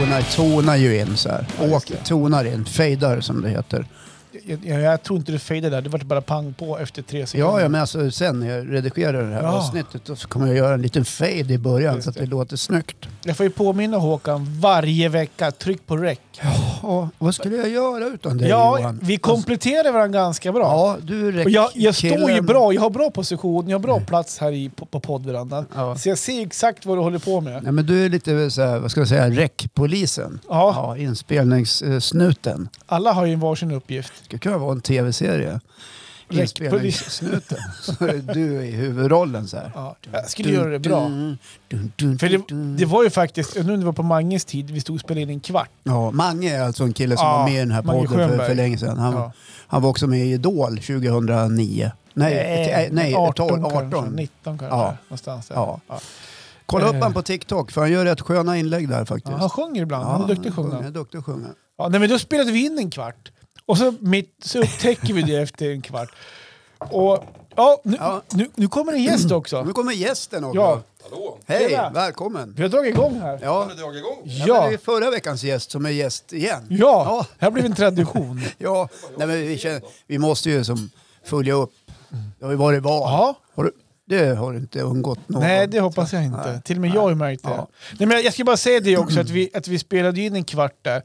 tonar, tonar ju in så här. Ja, just Åk, det. tonar in, fejdar som det heter. Jag, jag, jag tror inte du fejdade där. Det var bara pang på efter tre sekunder. Ja, ja, men alltså, sen när jag redigerar det här Ja. avsnittet då så kommer jag göra en liten fade i början Just så att det, det. låter snyggt. Jag får ju påminna Håkan varje vecka. Tryck på rec. Ja, vad skulle jag göra utan dig Ja, Johan? Alltså, vi kompletterar varandra ganska bra. Ja, du är Och jag, jag står ju killen. bra, jag har bra position, jag har bra plats här i, på, på poddverandan. Ja. Så jag ser exakt vad du håller på med. Nej, men du är lite så här, vad ska jag säga, räckpolisen. Ja, Ja, inspelningssnuten. alla har ju varsin uppgift. Det skulle kunna vara en tv-serie. Räckpolis. Inspelningssnuten. Så är du i huvudrollen så här. Ja, jag skulle göra det bra. Dun, dun, dun, För det, dun. det var ju faktiskt, jag undrar om det var på Manges tid, vi stod och spelade in en kvart. Ja, Mange är alltså en kille som Ja, var med i den här Mange podden för, Schönberg. för länge sedan. Han, Ja. han var också med i Idol 2009. Nej, nej, nej 18. 18, 12, Eh, kanske, 18. 19 kanske. Ja. Någonstans där. Ja. Ja. Kolla upp Eh. han på TikTok för han gör rätt sköna inlägg där faktiskt. Ja, han sjunger ibland, han är duktig Han är sjungare. duktig sjungare. Ja, nej, men då spelade vi in en kvart. Och så, mitt, så upptäcker vi det efter en kvart. Och ja, nu, Ja. Nu, nu kommer en gäst Nu också. kommer gästen också. Ja, Hallå! Hej, tjena. välkommen. vi har dragit igång här. Ja. Har ni dragit igång? Ja. Ja. men det är förra veckans gäst som är gäst igen. Ja, Ja. här blev en tradition. Ja, nej, men vi, känner, vi måste ju som följa upp. Det har ju varit val. Ja. Har du, det har inte undgått någon. Nej, det hoppas jag inte. Till och med jag har ju märkt det. Ja. Nej, men jag ska bara säga det också, att vi, att vi spelade in en kvart där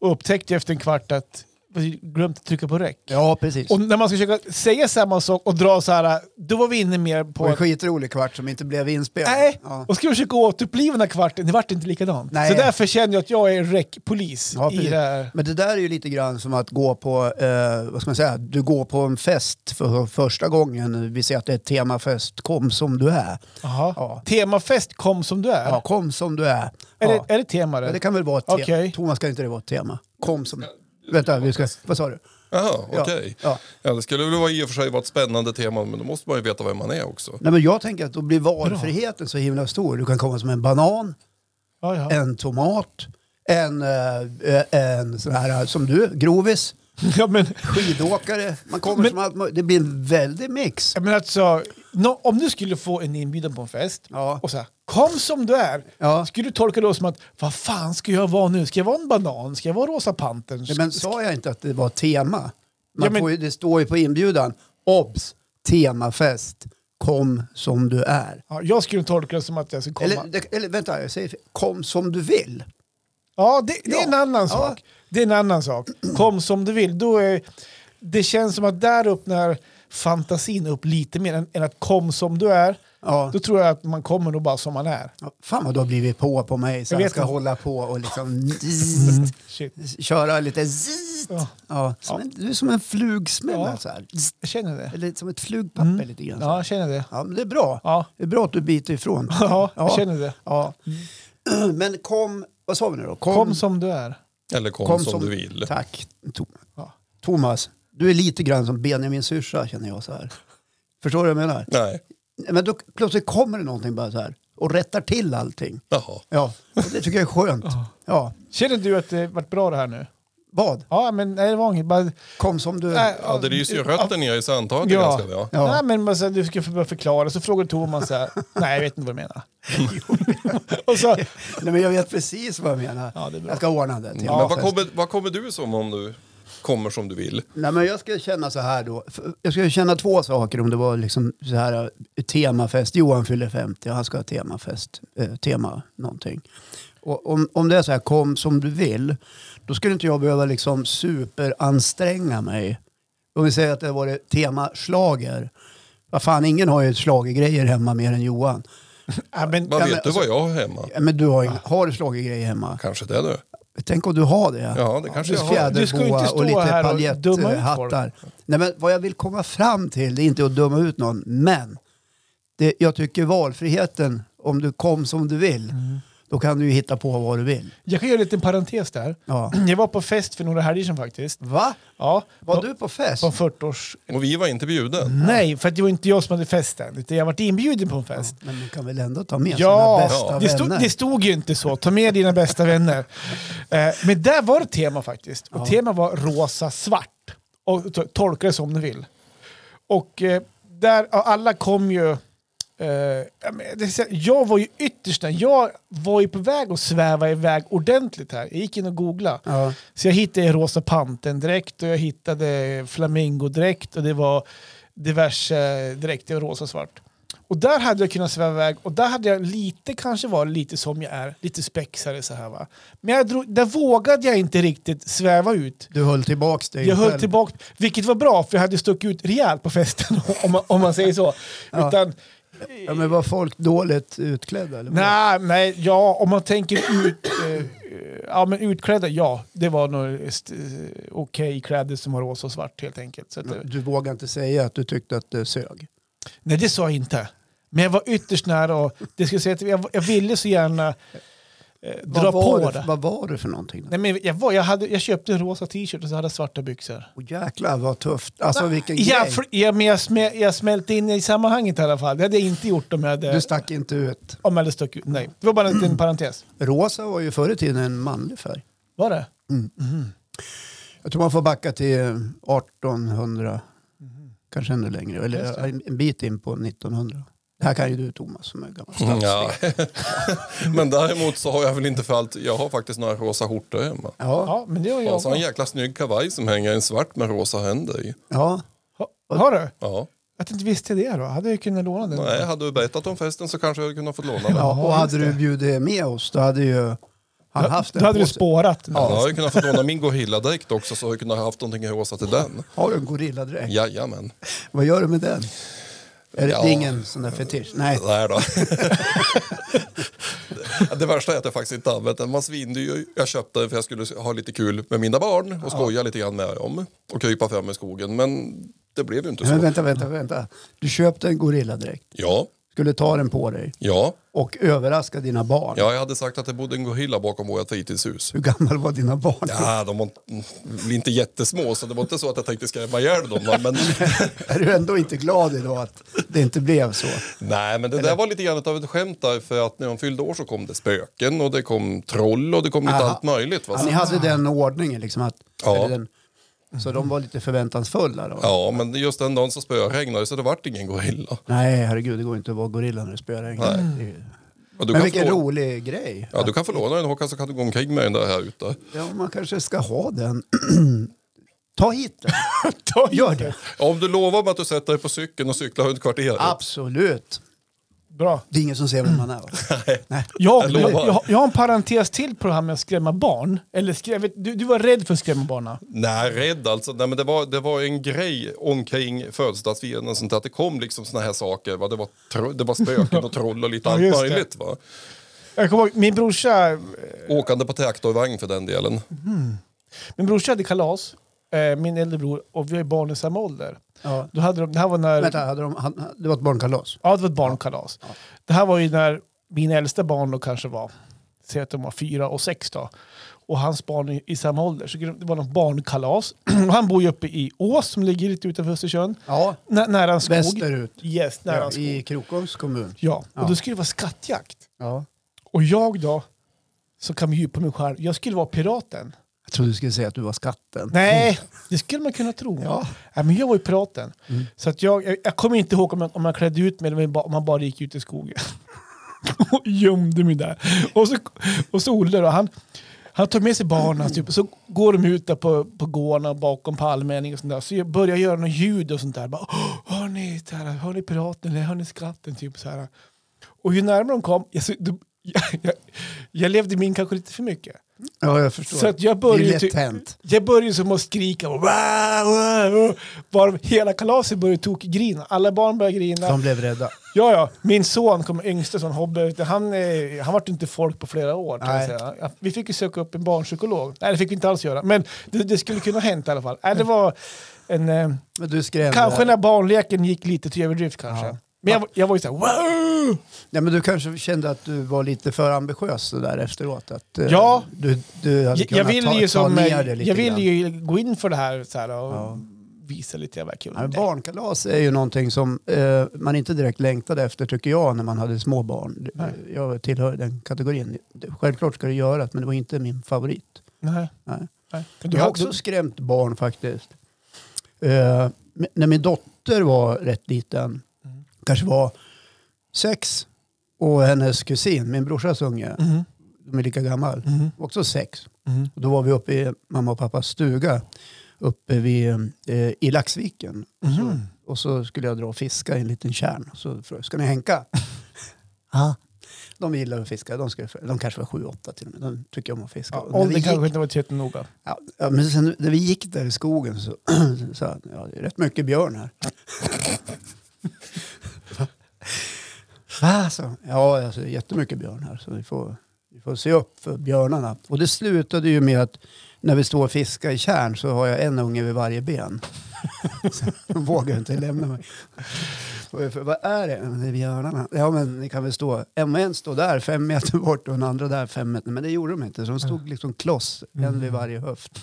och upptäckte efter en kvart att vi glömt att trycka på räck. Ja, precis. Och när man ska försöka säga samma sak och dra så här, då var vi inne mer på en på... skitrolig kvart som inte blev inspelad. Nej, Ja. och ska vi försöka återuppliva den här kvarten, det vart inte likadant. Nej. Så därför känner jag att jag är räckpolis Ja, i precis. det här. Men det där är ju lite grann som att gå på, eh, vad ska man säga, du går på en fest för första gången. Vi säger att det är temafest, kom som du är. Jaha. Ja. Temafest kom som du är. Ja, kom som du är. Är, ja. det, är det tema Ja, det? det kan väl vara ett tema. Okej. Thomas, kan inte det vara ett tema? Kom som... Vänta, vi ska... Vad sa du? Jaha, okej. Ja, ja. Ja, det skulle väl vara i och för sig vara ett spännande tema, men då måste man ju veta vem man är också. Nej, men jag tänker att då blir valfriheten så himla stor. Du kan komma som en banan, Ja, ja. en tomat, en, eh, eh, en sån här eh, som du, grovis, ja, men, skidåkare. Man kommer Men- som allt möjligt. Det blir en väldig mix. Ja, Men alltså, nå- om du skulle få en inbjudan på en fest Ja. och så här, kom som du är, Ja. skulle du tolka det som att vad fan ska jag vara nu? Ska jag vara en banan? Ska jag vara Rosa Pantern? Nej, men sa jag inte att det var tema? Man Ja, men- får ju, det står ju på inbjudan. Obs! Temafest. Kom som du är. Ja, jag skulle tolka det som att jag ska komma. Eller, det- eller vänta, jag säger fel. Kom som du vill. ja, det, det är Ja. en annan sak. Det är en annan sak. Kom som du vill. Då är, det känns som att där öppnar fantasin upp lite mer än, än att kom som du är. Ja. Då tror jag att man kommer nog bara som man är. Ja, Fan vad du har blivit på på mig. Så Jag jag, vet ska inte. hålla på och liksom Shit. köra lite zzzt. Ja. Ja, som en, du är som en flugsmälla Ja. så här. Zzzt. Jag känner det. Eller som ett flugpapper lite grann. så här. Ja, jag känner det. Ja, men det är bra. Ja, Det är bra att du biter ifrån. ja jag känner det. Ja. Mm. Men kom, vad sa vi nu då? Kom som du är. Eller kom, som, du vill. Tack. Tom- Ja. Thomas, du är lite grann som Benjamin syrsa känner jag så här. Förstår du vad jag menar? Nej, Men då plötsligt kommer det någonting bara så här och rättar till allting. jaha. Ja, och det tycker jag är skönt. Ja, Känner du att det varit bra det här nu? vad? Ja, men nej, det var inget. Bara, Kom som du... nej, Ja, det ryser ju rötter ner i samtalet Ja. ganska bra. Ja. Nej, men man sa, du ska börja förklara. Så frågar Thomas så här, nej jag vet inte vad du menar. och så, Nej, men jag vet precis vad jag menar. Ja, det är bra. jag ska ordna det till Men ja, vad kommer, vad kommer du som om du kommer som du vill? Nej, men Jag ska känna så här då. För Jag ska känna två saker om det var liksom så här eh, temafest. Johan fyller 50 och han ska ha temafest. Eh, tema någonting. Och om, om det är så här, kom som du vill. Då skulle inte jag behöva liksom superanstränga mig. Om vi säger att det var det tema schlager. Vad fan, ingen har ju schlagergrejer hemma mer än Johan. ja, men, Vad Ja, vet men du vad jag har hemma? Ja, Men du har, inga, har du schlagergrejer hemma? Kanske det du? Tänk om du har det. Ja, det kanske jag Plus har. fjärde- Du ska ju inte fjäderboa stå och lite här och döma ut paljetthattar. Nej, men vad jag vill komma fram till, det är inte att döma ut någon, men det, jag tycker valfriheten, om du kom som du vill, Mm. då kan du ju hitta på vad du vill. jag kan göra en liten parentes där. Ja. Jag var på fest för några helger sedan faktiskt. Va? Ja, Var på, du på fest? på 40-års... Och vi var inte bjuden. Nej, för att det var inte jag som hade festen, utan jag varit inbjuden på en fest. Men du kan väl ändå ta med sina Ja, bästa det, stod, vänner? det stod ju inte så. Ta med dina bästa vänner. Eh, men där var det tema faktiskt. Och tema var rosa svart. Och to- tolka det som du vill. Och eh, där, ja, alla kom ju Eh, ja, men det vill säga, jag var ju ytterst när jag var ju på väg att sväva iväg ordentligt här. Jag gick in och googlade. Ja. Så jag hittade Rosa Panten-dräkt och jag hittade Flamingo-dräkt och det var diverse dräkter, rosa och svart. Och där hade jag kunnat sväva iväg och där hade jag lite, kanske var lite som jag är, lite spexare så här va. Men jag drog, där vågade jag inte riktigt sväva ut. Du höll tillbaks dig Jag höll själv. tillbaka, vilket var bra för jag hade stuckit ut rejält på festen om man, om man säger så. Ja. Utan, Ja, men var folk dåligt utklädda? Eller vad? Nej, nej, ja, om man tänker ut, eh, ja, men utklädda, ja. Det var nog st- eh, okej kläder som var rosa och svart helt enkelt. Så att, eh, Du vågar inte säga att du tyckte att det sög? Nej, det sa jag inte. Men jag var ytterst nära och det skulle jag säga att jag, jag ville så gärna eh, dra vad, var på det, det. vad var det för någonting? Då? Nej, men jag, var, jag, hade, jag köpte en rosa t-shirt och så hade jag svarta byxor. Åh, jäklar vad tufft. Alltså vilken Ja, grej. för, ja, men jag, smä, jag smälte in i sammanhanget i alla fall. Det hade jag inte gjort om jag hade, Du stack inte ut. om jag hade stuckit ut. Nej, det var bara en liten parentes. Rosa var ju förr i tiden en manlig färg. Var det? Jag tror man får backa till 1800, kanske ännu längre, Just eller en- en bit in på 1900. Det här kan ju du Thomas som är gammal stadsdel. Mm, Ja. Men däremot så har jag väl inte för allt. Jag har faktiskt några rosa skjortor hemma. Ja, Ja, men det var Och så har jag jag. en jäkla snygg kavaj som hänger en svart med rosa händer i. ja. Ha, har du? Ja. Att jag inte visste det då. Hade jag ju kunnat låna den. Nej, hade du berättat om festen så kanske jag hade kunnat få låna den. ja. Och hade just du bjudit med oss då hade ju han haft Då den hade på du sig. spårat. Ja. Jag hade kunnat få låna min gorilladräkt också så hade jag kunnat haft någonting i rosa till den. Har du en gorilladräkt? Jajamän. Vad gör du med den? Är det, Ja. det är ingen sån där fetisch? Nej. Nej då. det värsta är att jag faktiskt inte använt den. Man svinner ju. Jag köpte den för jag skulle ha lite kul med mina barn och skoja lite grann med dem och krypa fram i skogen. Men det blev ju inte Men så. vänta, vänta, vänta. Du köpte en gorilladräkt, Ja, skulle ta den på dig ja, och överraska dina barn. ja, jag hade sagt att det bodde en gorilla bakom vårt fritidshus. Hur gammal var dina barn? Ja, de var inte- blev inte jättesmå så det var inte så att jag tänkte skrämma ihjäl dem. va, Men, Är du ändå inte glad idag att det inte blev så? nej, men det där var lite grann av ett skämt där för att när de fyllde år så kom det spöken och det kom troll och det kom lite Aha. allt möjligt. Va? Ja, ni Så, hade den ordningen liksom att... Ja. eller Den, så de var lite förväntansfulla då? ja, men just den dagen så spöregnade det, så det vart ingen gorilla. Nej, herregud, det går inte att vara gorilla när det spöregnar. Det är ju- Ja, Men du kan vilken få låna- rolig grej. Ja, du kan få låna den Håkan så kan du gå omkring med den där här ute. Ja, man kanske ska ha den. Ta hit den. Ta Gör det. Om du lovar mig att du sätter dig på cykeln och cyklar runt kvarteret. Absolut. Bra. Det är ingen som ser vem man är. va? Nej. Jag, Jag jag, lovar. jag, jag har en parentes till på det här med att skrämma barn. Eller skräm, du, du var rädd för att skrämma barnen. Nej, rädd alltså. Nej, men det, var, det var en grej omkring födelsedagsfirandet och sånt där, att det kom liksom såna här saker. Va? Det, var tro, det var spöken och troll och lite Ja, allt just det. möjligt. Va? Jag kommer ihåg, min brorsa, eh, Åkande på traktorvagn för den delen. min brorsa hade kalas, eh, min äldre bror, och vi har ju barn i samma ålder. Ja. Då hade de, det här var när... Vänta, hade de, han, det var ett barnkalas? Ja, det var ett barnkalas. Det här var ju när mina äldsta barn då kanske var, säg att de var fyra och sex då, och hans barn i, i samma ålder. Så det var något barnkalas. Och han bor ju uppe i Ås som ligger lite utanför Östersund, Ja, nä, nära en skog. västerut. Yes, nära en Ja, skog. I Krokoms kommun. Ja, och Ja. då skulle det vara skattjakt. Ja. Och jag då, så kan vi ju på mig själv, jag skulle vara piraten. Jag trodde du skulle säga att du var skatten. Nej, Mm. det skulle man kunna tro. Ja. Nej, men jag var ju piraten. Så att jag, jag, jag kommer inte ihåg om jag, om jag klädde ut mig eller om jag ba- om man bara gick ut i skogen. och gömde mig där. Och så, och så Olle då, han, han tar med sig barnen typ, och så går de ut där på, på gården och bakom palmen och sånt där. Så jag börjar göra något ljud och sånt där. Bara, "Åh, hör, ni, så här, hör ni piraten eller hör ni skatten? Typ, så här. Och ju närmare de kom, jag, så- då- jag, jag, jag levde min kanske lite för mycket. Ja, jag förstår. Så att jag det började är ty- lätt hänt. jag började som att skrika och "Wah, wah, wah." Var hela kalaset började tokgrina. Alla barn började grina. De blev rädda. Ja, ja. Min son, kom, yngste son, Hobbe, vet du, han, eh, han vart inte folk på flera år. kan jag Nej. säga. Ja, Vi fick ju söka upp en barnpsykolog. Nej, det fick vi inte alls göra. Men det, det skulle kunna ha hänt i alla fall. Nej, det var en, eh, Men du skrämde. kanske när barnleken gick lite till överdrift kanske. eh, Ja. Men jag, var- jag var ju såhär wow! Nej, men du kanske kände att du var lite för ambitiös så där efteråt. Att, eh, Ja. Du, du hade Jag, kunnat jag ville ta, ta ju, som, ner det eh, lite jag ville grann. ju gå in för det här, så här och Ja. visa lite jävla kul. Ja, men barnkalas är ju någonting som eh, man inte direkt längtade efter tycker jag när man hade små barn. Nej. Jag tillhör den kategorin. Självklart ska det göras men det var inte min favorit. Nej. Nej. Nej. Men Jag du har har också du- skrämt barn faktiskt. Eh, men när min dotter var rätt liten, kanske var sex. Och hennes kusin, min brorsas unge, Mhm. de är lika gammal, Mhm. också sex. Mhm. Och då var vi uppe i mamma och pappas stuga uppe vid, eh, i Laxviken. Så, Mhm. och så skulle jag dra och fiska i en liten kärn. Så frågade jag, ska ni hänka? Ja. De gillar att fiska. De, skulle, de kanske var sju, åtta till och med. De tycker om att fiska. Ja, Och när vi Åldern gick- kanske inte var tillräckligt noga. Ja, ja, men sen när vi gick där i skogen så så sa han, ja, det är rätt mycket björn här. Va? Så, ja, alltså, det är jättemycket björn här så vi får, vi får se upp för björnarna. Och det slutade ju med att när vi står och fiskar i kärn så har jag en unge vid varje ben. Så De vågar inte lämna mig. Och jag frågar, Vad är det? "Ja, men Det är björnarna. Ja men ni kan väl stå, en och en står där fem meter bort och den andra där fem meter. Men det gjorde de inte så de stod liksom kloss, en vid varje höft.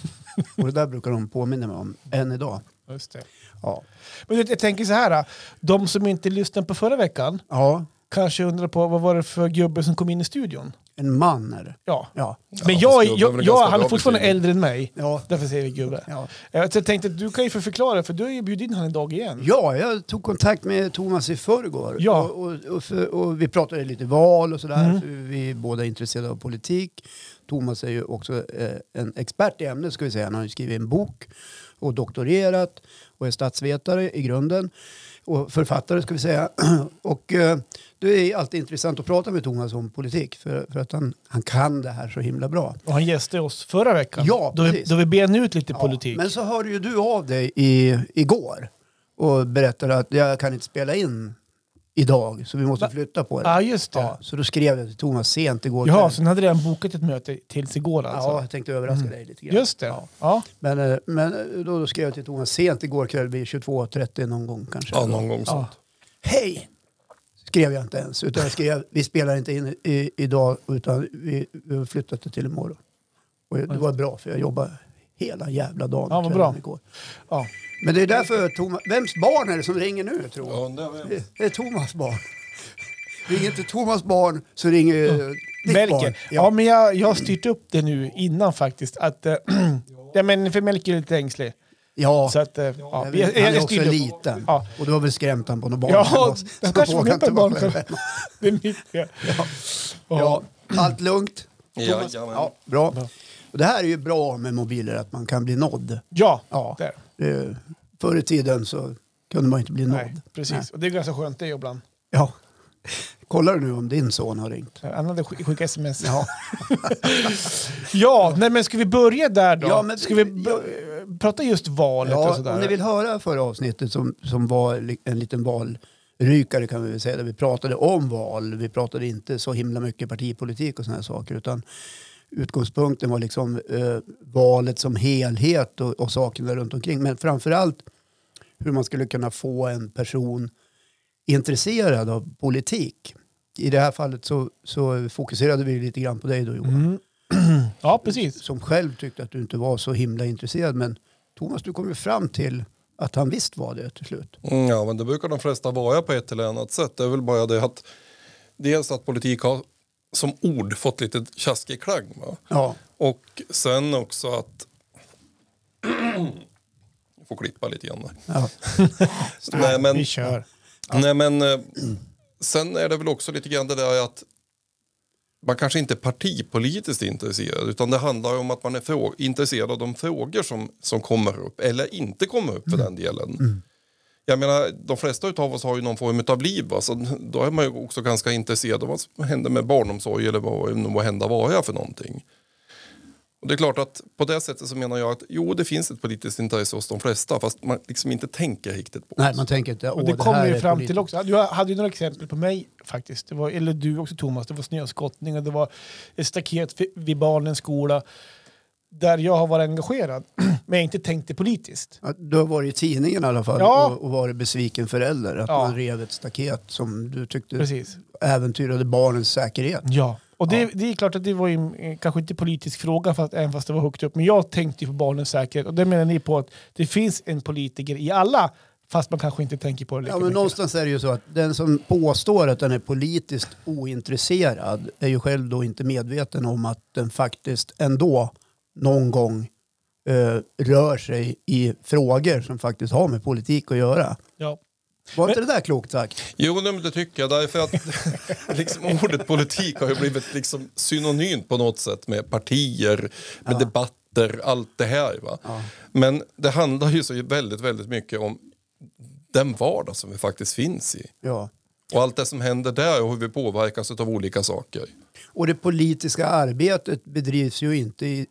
Och det där brukar de påminna mig om än idag. Just det. Ja. Men du vet, jag tänker så här, de som inte lyssnade på förra veckan ja, kanske undrar på vad var det för gubbe som kom in i studion? en man är det. Ja. Ja. Men fast jag, gubbe är jag, väl jag, ganska han är bra fortfarande beskrivning. äldre än mig. Ja. Därför säger vi gubbe. Ja. Eh, Så jag tänkte att du kan ju få förklara, för du har ju bjudit in han idag igen. ja, jag tog kontakt med Thomas i förrgår. Ja. Och, och, och, för, och vi pratade lite val och sådär. För vi är båda intresserade av politik. Thomas är ju också eh, en expert i ämnet ska vi säga. Han har ju skrivit en bok och doktorerat och är statsvetare i grunden. Och författare ska vi säga. Och eh, det är alltid intressant att prata med Thomas om politik. För, för att han, han kan det här så himla bra. Och han gästade oss förra veckan. Ja, då, vi, precis. då vi ben ut lite Ja, politik. Men så hörde ju du av dig i, igår och berättade att jag kan inte spela in idag så vi måste Va? flytta på det. Ja, just det. Ja, så då skrev jag till Thomas sent igår Jaha, kväll. så ni hade redan bokat ett möte tills igår alltså? Ja, jag tänkte överraska dig lite grann. Just det. Ja. Ja. Men, eh, men eh, då, då skrev jag till Thomas sent igår kväll vid 22.30 någon gång kanske. Ja, någon gång så. Ja. Hej! Skrev jag inte ens. Utan jag skrev, vi spelar inte in i, idag utan vi, vi har flyttat det till imorgon. Och det var bra för jag jobbade hela jävla dagen Ja, vad kvällen bra. igår. Ja. Men det är därför Thomas... Vems barn är det som ringer nu tror jag? Ja, undrar vem. Det- Det är Thomas barn. Ringer inte Thomas barn så ringer eh, ditt barn. Melker. Ja. Ja. men jag, jag har styrt upp det nu innan faktiskt. Att, eh, ja, men för Melker är lite ängslig. ja. Så att, eh, ja, Jag vi- vet, jag- han är jag också styrde upp. liten. Ja. Och du har väl skrämt han på något barn? Ja, hemma, det så kanske han var vågar uppe inte barn. vara själv hemma. Det är mitt fel. Ja, allt lugnt? Thomas? Jajamän. ja, bra. Och det här är ju bra med mobiler, att man kan bli nådd. Ja, Ja. där. Eh, Förr i tiden så kunde man inte bli nådd. Nej, precis. Och det är ganska skönt det ibland. Ja. Kollar du nu om din son har ringt? Han hade sk- skickat sms. Ja, Ja. nej, men ska vi börja där då? Ja, men- ska vi b- prata just valet och Ja, sådär? om ni vill höra förra avsnittet som, som var li- en liten valrykare kan vi väl säga, där vi pratade om val. Vi pratade inte så himla mycket partipolitik och sådana här saker utan utgångspunkten var liksom eh, valet som helhet och, och sakerna runt omkring. Men framförallt hur man skulle kunna få en person intresserad av politik. I det här fallet så, så fokuserade vi lite grann på dig då Johan Mm. ja, precis. som själv tyckte att du inte var så himla intresserad. Men Thomas, du kom ju fram till att han visst var det till slut. Mm, ja, men det brukar de flesta vara på ett eller annat sätt. Det är väl bara det att dels att politik har som ord fått lite tjaskig klang. Va? Ja, Och sen också att... Jag får klippa lite grann. där. ja, Nej, men, Vi kör. nej, men eh, sen är det väl också lite grann det där att man kanske inte är partipolitiskt intresserad utan det handlar om att man är frå- intresserad av de frågor som, som kommer upp eller inte kommer upp för den delen. Jag menar, de flesta av oss har ju någon form av liv, va? så då är man ju också ganska intresserad av vad som händer med barnomsorg eller vad det nu må hända vara för någonting. Och det är klart att på det sättet så menar jag att jo, det finns ett politiskt intresse hos de flesta fast man liksom inte tänker riktigt på nej, man tänker inte. Åh, Och det kommer här vi är fram politik." till också. Du hade ju några exempel på mig faktiskt. Det var, eller du också Thomas. Det var snöskottning och det var ett staket fi- vid barnens skola. Där jag har varit engagerad, men jag inte tänkte politiskt. Ja, Du har varit i tidningen i alla fall Ja. och, och varit besviken förälder. Att Ja. man rev ett staket som du tyckte Precis. äventyrade barnens säkerhet. Ja. Och det, Ja. det är klart att det var ju, eh, kanske inte politisk fråga, fast, även fast det var högt upp. Men jag tänkte ju på barnens säkerhet. Och det menar ni på att det finns en politiker i alla, fast man kanske inte tänker på det lika Ja, men mycket. någonstans är det ju så att den som påstår att den är politiskt ointresserad är ju själv då inte medveten om att den faktiskt ändå någon gång eh, rör sig i frågor som faktiskt har med politik att göra. Ja. Var inte det där klokt sagt? Jo, nej, men det tycker jag. Därför att liksom, ordet politik har ju blivit liksom synonymt på något sätt med partier, med debatter, allt det här. Va? Men det handlar ju så väldigt, väldigt mycket om den vardag som vi faktiskt finns i. Ja. Och allt det som händer där och hur vi påverkas av olika saker. Och det politiska arbetet bedrivs ju inte i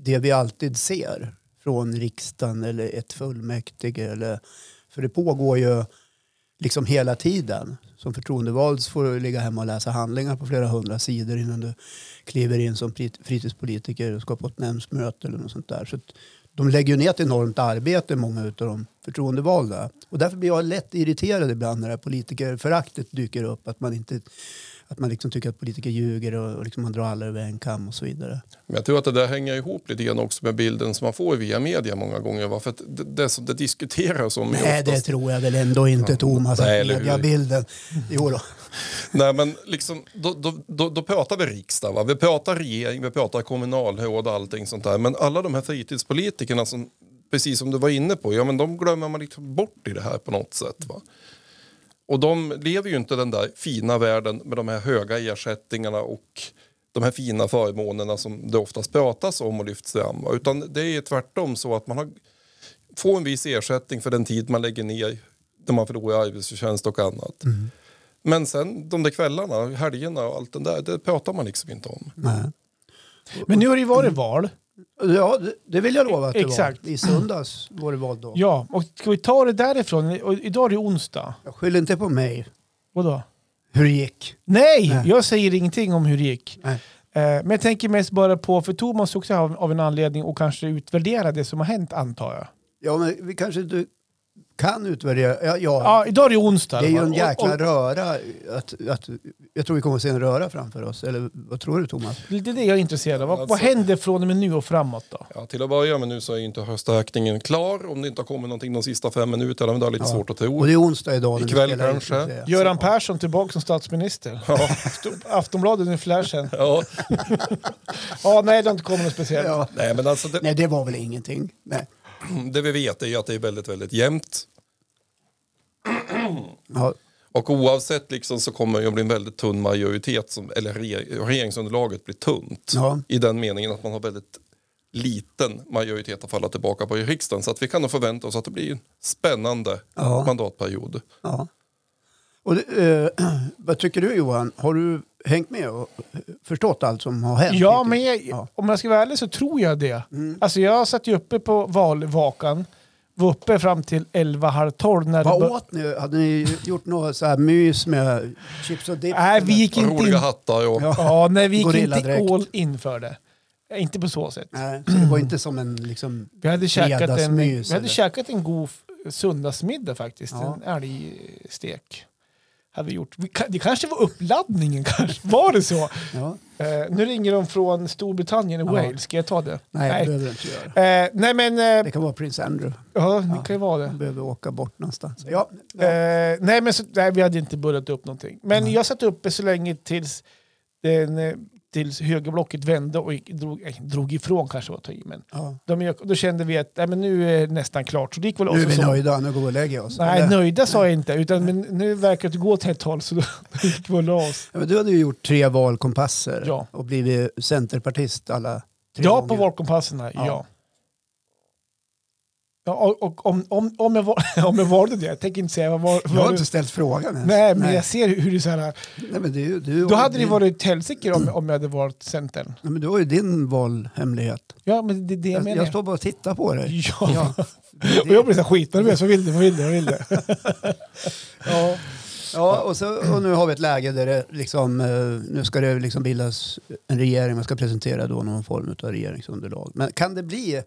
det vi alltid ser från riksdagen eller ett fullmäktige. Eller, för det pågår ju liksom hela tiden. Som förtroendevald så får du ligga hemma och läsa handlingar på flera hundra sidor innan du kliver in som frit- fritidspolitiker och ska på ett nämndsmöte eller något sånt där. Så att de lägger ju ner ett enormt arbete, många utav de förtroendevalda. Och därför blir jag lätt irriterad ibland när det här politikerföraktet dyker upp. Att man, inte, att man liksom tycker att politiker ljuger och, och liksom man drar alla över en kam och så vidare. Men jag tror att det där hänger ihop lite grann också med bilden som man får via media många gånger. Va? För att det, det som det diskuteras om är Nej, det oftast- tror jag väl ändå inte Thomas. Nej, Nej, eller hur? att bilden. Jo då. Nej, men liksom, då, då, då, då pratar vi riksdag, va? vi pratar regering, vi pratar kommunalråd och allting sånt där. Men alla de här fritidspolitikerna, som, precis som du var inne på, ja, men de glömmer man liksom bort i det här på något sätt. Va? Och de lever ju inte den där fina världen med de här höga ersättningarna och de här fina förmånerna som det oftast pratas om och lyfts fram. va? Utan det är tvärtom så att man har, får en viss ersättning för den tid man lägger ner när man förlorar arbetsförtjänst och annat. Men sen de där kvällarna, helgerna och allt det där, det pratar man liksom inte om. Nej. Men nu har det ju varit val. Mm. Ja, det- det vill jag lova att det Exakt. var. I söndags var det valdag. Ja, och ska vi ta det därifrån? Och idag är det onsdag. Jag skyller inte på mig Vadå? hur det gick. Nej, Nej. jag säger ingenting om hur det gick. Nej. Eh, Men jag tänker mest bara på, för Thomas också av, av en anledning och kanske utvärdera det som har hänt antar jag. Ja, men vi kanske inte kan utvärdera. Ja, ja. Ja, idag är det onsdag. det är ju va? en jäkla Och- röra. Att, att, jag tror vi kommer att se en röra framför oss. Eller vad tror du Thomas? och Det är det jag är intresserad av. Vad, vad Alltså- händer från och med nu och framåt då? Ja, till att börja med nu så är ju inte hösträkningen klar om det inte har kommit någonting de sista fem minuterna, men det är lite Ja. svårt att tro. Och det är onsdag idag. när vi Ikväll spelar in, kanske. så att säga. Göran Persson tillbaka som statsminister. Ja, Aftonbladet nu flashen. ja. Ja, nej, det har inte kommit något speciellt. Ja. Nej, men alltså det, Nej, det var väl ingenting. Nej. det vi vet är ju att det är väldigt, väldigt jämnt. Ja. Och oavsett liksom så kommer det att bli en väldigt tunn majoritet, som, eller re- regeringsunderlaget blir tunt. Ja. I den meningen att man har väldigt liten majoritet att falla tillbaka på i riksdagen. Så att vi kan nog förvänta oss att det blir en spännande Ja. mandatperiod. Ja. Och det, eh, vad tycker du Johan? Har du hängt med och eh, förstått allt som har hänt? Ja, hittills? men jag, Ja. Mm. om jag ska vara ärlig så tror jag det. Alltså jag satt ju uppe på valvakan, var uppe fram till 11, halv 12 när det Vad bör- åt ni? Hade ni gjort något så här mys med chips och dipp? Nej, vi gick inte in. Roliga hattar och... Ja. Ja, nej, vi gick Gorilladräkt. inte all in för det. Eh, Inte på så sätt. Nej, så det var inte som en liksom... Vi hade käkat en, Fredagsmys, vi hade eller? käkat en god f- söndagsmiddag faktiskt. Ja. En älgstek. Hade vi gjort. Vi, ka- det kanske var uppladdningen, kanske. var det så? Ja. Eh, nu ringer de från Storbritannien och Ja. Wales, ska jag ta det? Nej, det Nej, behöver du inte göra. eh, nej men... Eh, Det kan vara prins Andrew. ja, det Ja. kan ju vara det. Han behöver åka bort någonstans. Ja, ja. Eh, nej, men så, nej, vi hade inte börjat upp någonting. Men jag satt uppe så länge tills, den, eh, tills högerblocket vände och gick, drog, eh, drog ifrån kanske var att ta i. Men ja. de, gick- då kände vi att nej, men nu är det nästan klart. Så det gick väl Nu är också vi så. nöjda, nu går vi och lägger oss. Nej, Eller? nöjda sa jag inte. Utan men nu verkar det gå åt ett håll så då gick vi och la oss. Ja, men du hade ju gjort tre valkompasser Ja. och blivit centerpartist alla tre Ja, gånger. på valkompasserna. Ja. Ja. ja. och, och om, om, om, jag var, om jag valde det, jag tänker inte säga vad var, Jag har var inte ställt frågan ens. Nej, men jag ser hur du så här... Nej, men du, du, Då hade det du, varit ett helsike om, om jag hade varit Centern. Nej, men du har ju din valhemlighet. Ja, men det är det jag Jag, menar. jag står bara och tittar på dig. Ja. Det- Och jag blir så här skitnervös. Vad vill du? Vad vill du? Vad vill du? Ja, ja och, så, och nu har vi ett läge där det liksom, eh, nu ska det liksom bildas en regering, man ska presentera då någon form av regeringsunderlag. Men kan det bli,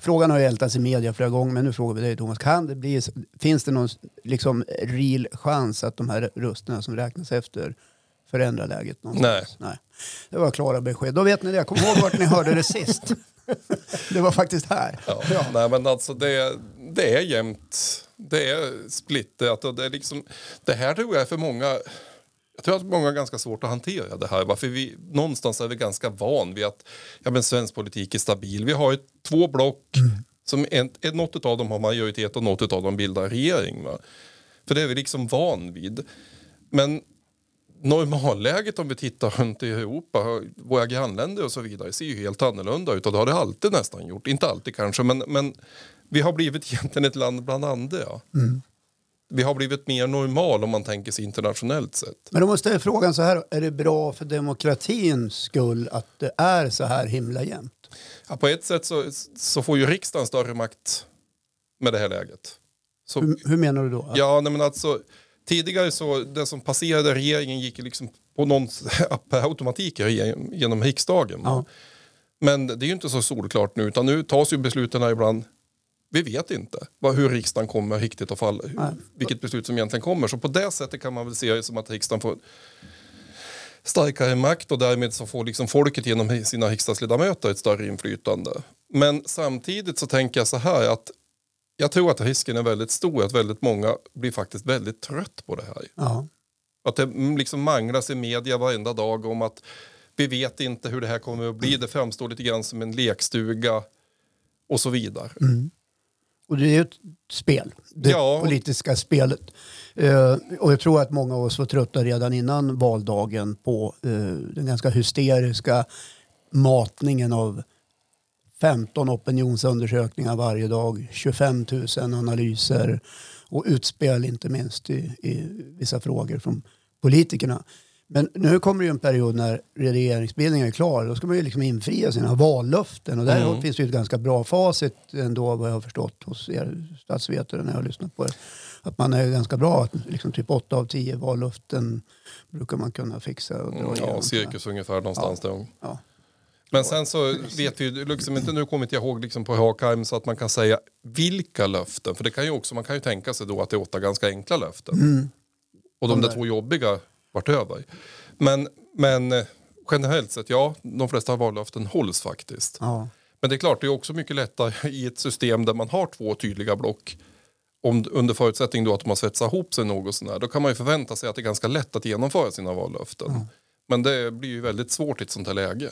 frågan har ju ältats i media flera gånger, men nu frågar vi dig Thomas, kan det bli, finns det någon liksom real chans att de här rösterna som räknas efter förändrar läget någonstans? Nej. Det var klara besked. Då vet ni det. Kom ihåg vart ni hörde det sist. Det var faktiskt här. Ja. Nej, men alltså det, det är jämnt. Det är splittrat. Och det, är liksom, det här tror jag är för många... Jag tror att många har ganska svårt att hantera det här. va? För vi, någonstans är vi ganska van vid att ja, men svensk politik är stabil. Vi har ju två block. Som en, en- något av dem har majoritet och något av dem bildar regering. Va? För det är vi liksom van vid. Men normalläget om vi tittar runt i Europa, våra grannländer och så vidare ser ju helt annorlunda ut och det har det alltid nästan gjort. Inte alltid kanske men, men vi har blivit egentligen ett land bland andra. Vi har blivit mer normal om man tänker sig internationellt sett. Men då måste jag fråga så här, är det bra för demokratins skull att det är så här himla jämnt? Ja, på ett sätt så, så får ju riksdagen större makt med det här läget. Så, Hur, hur menar du då? Ja, nej, men alltså, tidigare så, det som passerade regeringen gick ju liksom på någon per automatik reg- genom riksdagen. Ja. Men det är ju inte så solklart nu, utan nu tas ju besluten här ibland vi vet inte vad, hur riksdagen kommer riktigt att falla, hur- Nej. vilket beslut som egentligen kommer. Så på det sättet kan man väl se det som att riksdagen får starkare makt och därmed så får liksom folket genom sina riksdagsledamöter ett större inflytande. Men samtidigt så tänker jag så här att jag tror att risken är väldigt stor att väldigt många blir faktiskt väldigt trött på det här. Ja. Att det mm, liksom manglas i media varenda dag om att vi vet inte hur det här kommer att Mm. bli. Det framstår lite grann som en lekstuga och så vidare. Mm. Och det är ju ett spel, det Ja, och- politiska spelet. Eh, och jag tror att många av oss var trötta redan innan valdagen på eh, den ganska hysteriska matningen av 15 opinionsundersökningar varje dag, 25 000 analyser och utspel inte minst i, i vissa frågor från politikerna. Men nu kommer det ju en period när regeringsbildningen är klar. Då ska man ju liksom infria sina vallöften. Och där Mm. finns det ju ett ganska bra facit ändå vad jag har förstått hos er statsvetare när jag har lyssnat på er. Att man är ju ganska bra. Att liksom typ 8 av 10 vallöften brukar man kunna fixa. Och dra Mm, Ja, igenom. cirkus ungefär någonstans. där. Ja. Men sen så vet vi ju liksom inte, nu kommer inte jag ihåg liksom på rak arm så att man kan säga vilka löften. För det kan ju också, man kan ju tänka sig då att det är åtta ganska enkla löften. Mm. Och de där två jobbiga vart över. Men, men eh, generellt sett, ja, de flesta vallöften hålls faktiskt. Ja. Men det är klart, det är också mycket lättare i ett system där man har två tydliga block. Om, under förutsättning då att man svetsar ihop sig något sånär. Då kan man ju förvänta sig att det är ganska lätt att genomföra sina vallöften. Men det blir ju väldigt svårt i ett sånt här läge.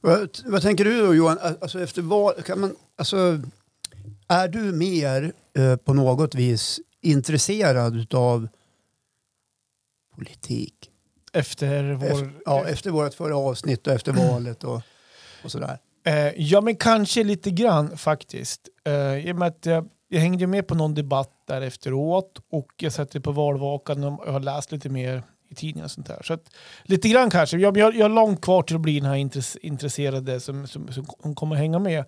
Vad, vad tänker du då Johan? Alltså, efter val, kan man, alltså, är du mer eh, på något vis intresserad av politik? Efter vår... Efter, ja, efter vårt förra avsnitt och efter valet och, och sådär. Eh, ja, men kanske lite grann faktiskt. Eh, I och med att jag, jag hängde ju med på någon debatt där efteråt och jag satt på valvakan och jag har läst lite mer i tidningar och sånt där. Så att, lite grann kanske. Jag, jag, jag har långt kvar till att bli den här intress, intresserade som, som, som, som kommer hänga med.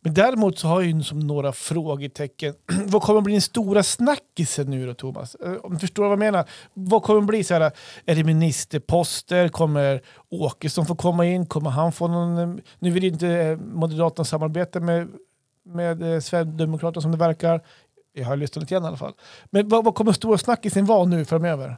Men däremot så har jag ju som några frågetecken. vad kommer bli den stora snackisen nu då, Thomas? Eh, Om du förstår vad jag menar. Vad kommer bli så här? Är det ministerposter? Kommer Åkesson få komma in? Kommer han få någon... eh, Nu vill ju inte eh, Moderaterna samarbeta med, med eh, Sverigedemokraterna som det verkar. Jag har lyssnat lite grann i alla fall. Men vad, vad kommer stora snackisen vara nu framöver?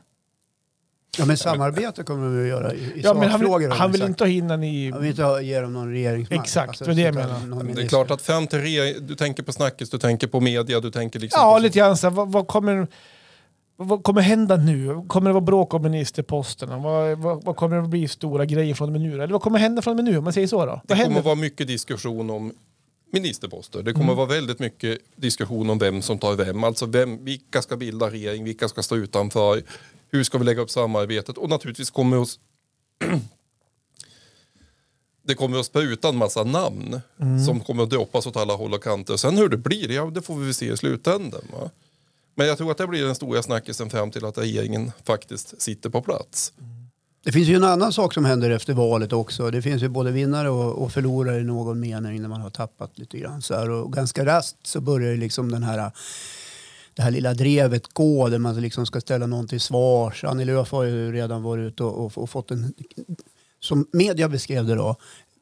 Ja, men samarbete kommer vi att göra i, i Ja, men han sakfrågor. vill, har han vi vill sagt. inte ha in den i... Han vill inte ha- ge dem någon regeringsmakt. Exakt, det är det jag sätta menar. någon Men det är minister. klart att fram till re- du tänker på snackis, du tänker på media, du tänker liksom... Ja, på- lite grann så här, vad, vad kommer... Vad kommer hända nu? Kommer det vara bråk om ministerposterna? Vad, vad, vad kommer det bli stora grejer från och med nu? Eller vad kommer hända från och med nu om man säger så? Då? Det Vad kommer händer? Mm. vara mycket diskussion om ministerposter. Det kommer vara väldigt mycket diskussion om vem som tar vem. Alltså vem, vilka ska bilda regering, vilka ska stå utanför, hur ska vi lägga upp samarbetet och naturligtvis kommer oss det kommer att spruta en massa namn Mm. som kommer att droppas åt alla håll och kanter. Sen hur det blir, ja, det får vi väl se i slutändan. Va? Men jag tror att det blir den stora snackisen fram till att regeringen faktiskt sitter på plats. Det finns ju en annan sak som händer efter valet också. Det finns ju både vinnare och, och förlorare i någon mening när man har tappat lite grann. Så här. Och ganska rast så börjar ju liksom den här, det här lilla drevet gå där man liksom ska ställa någon till svars. Annie Lööf har ju redan varit ute och, och, och fått en, som media beskrev det då,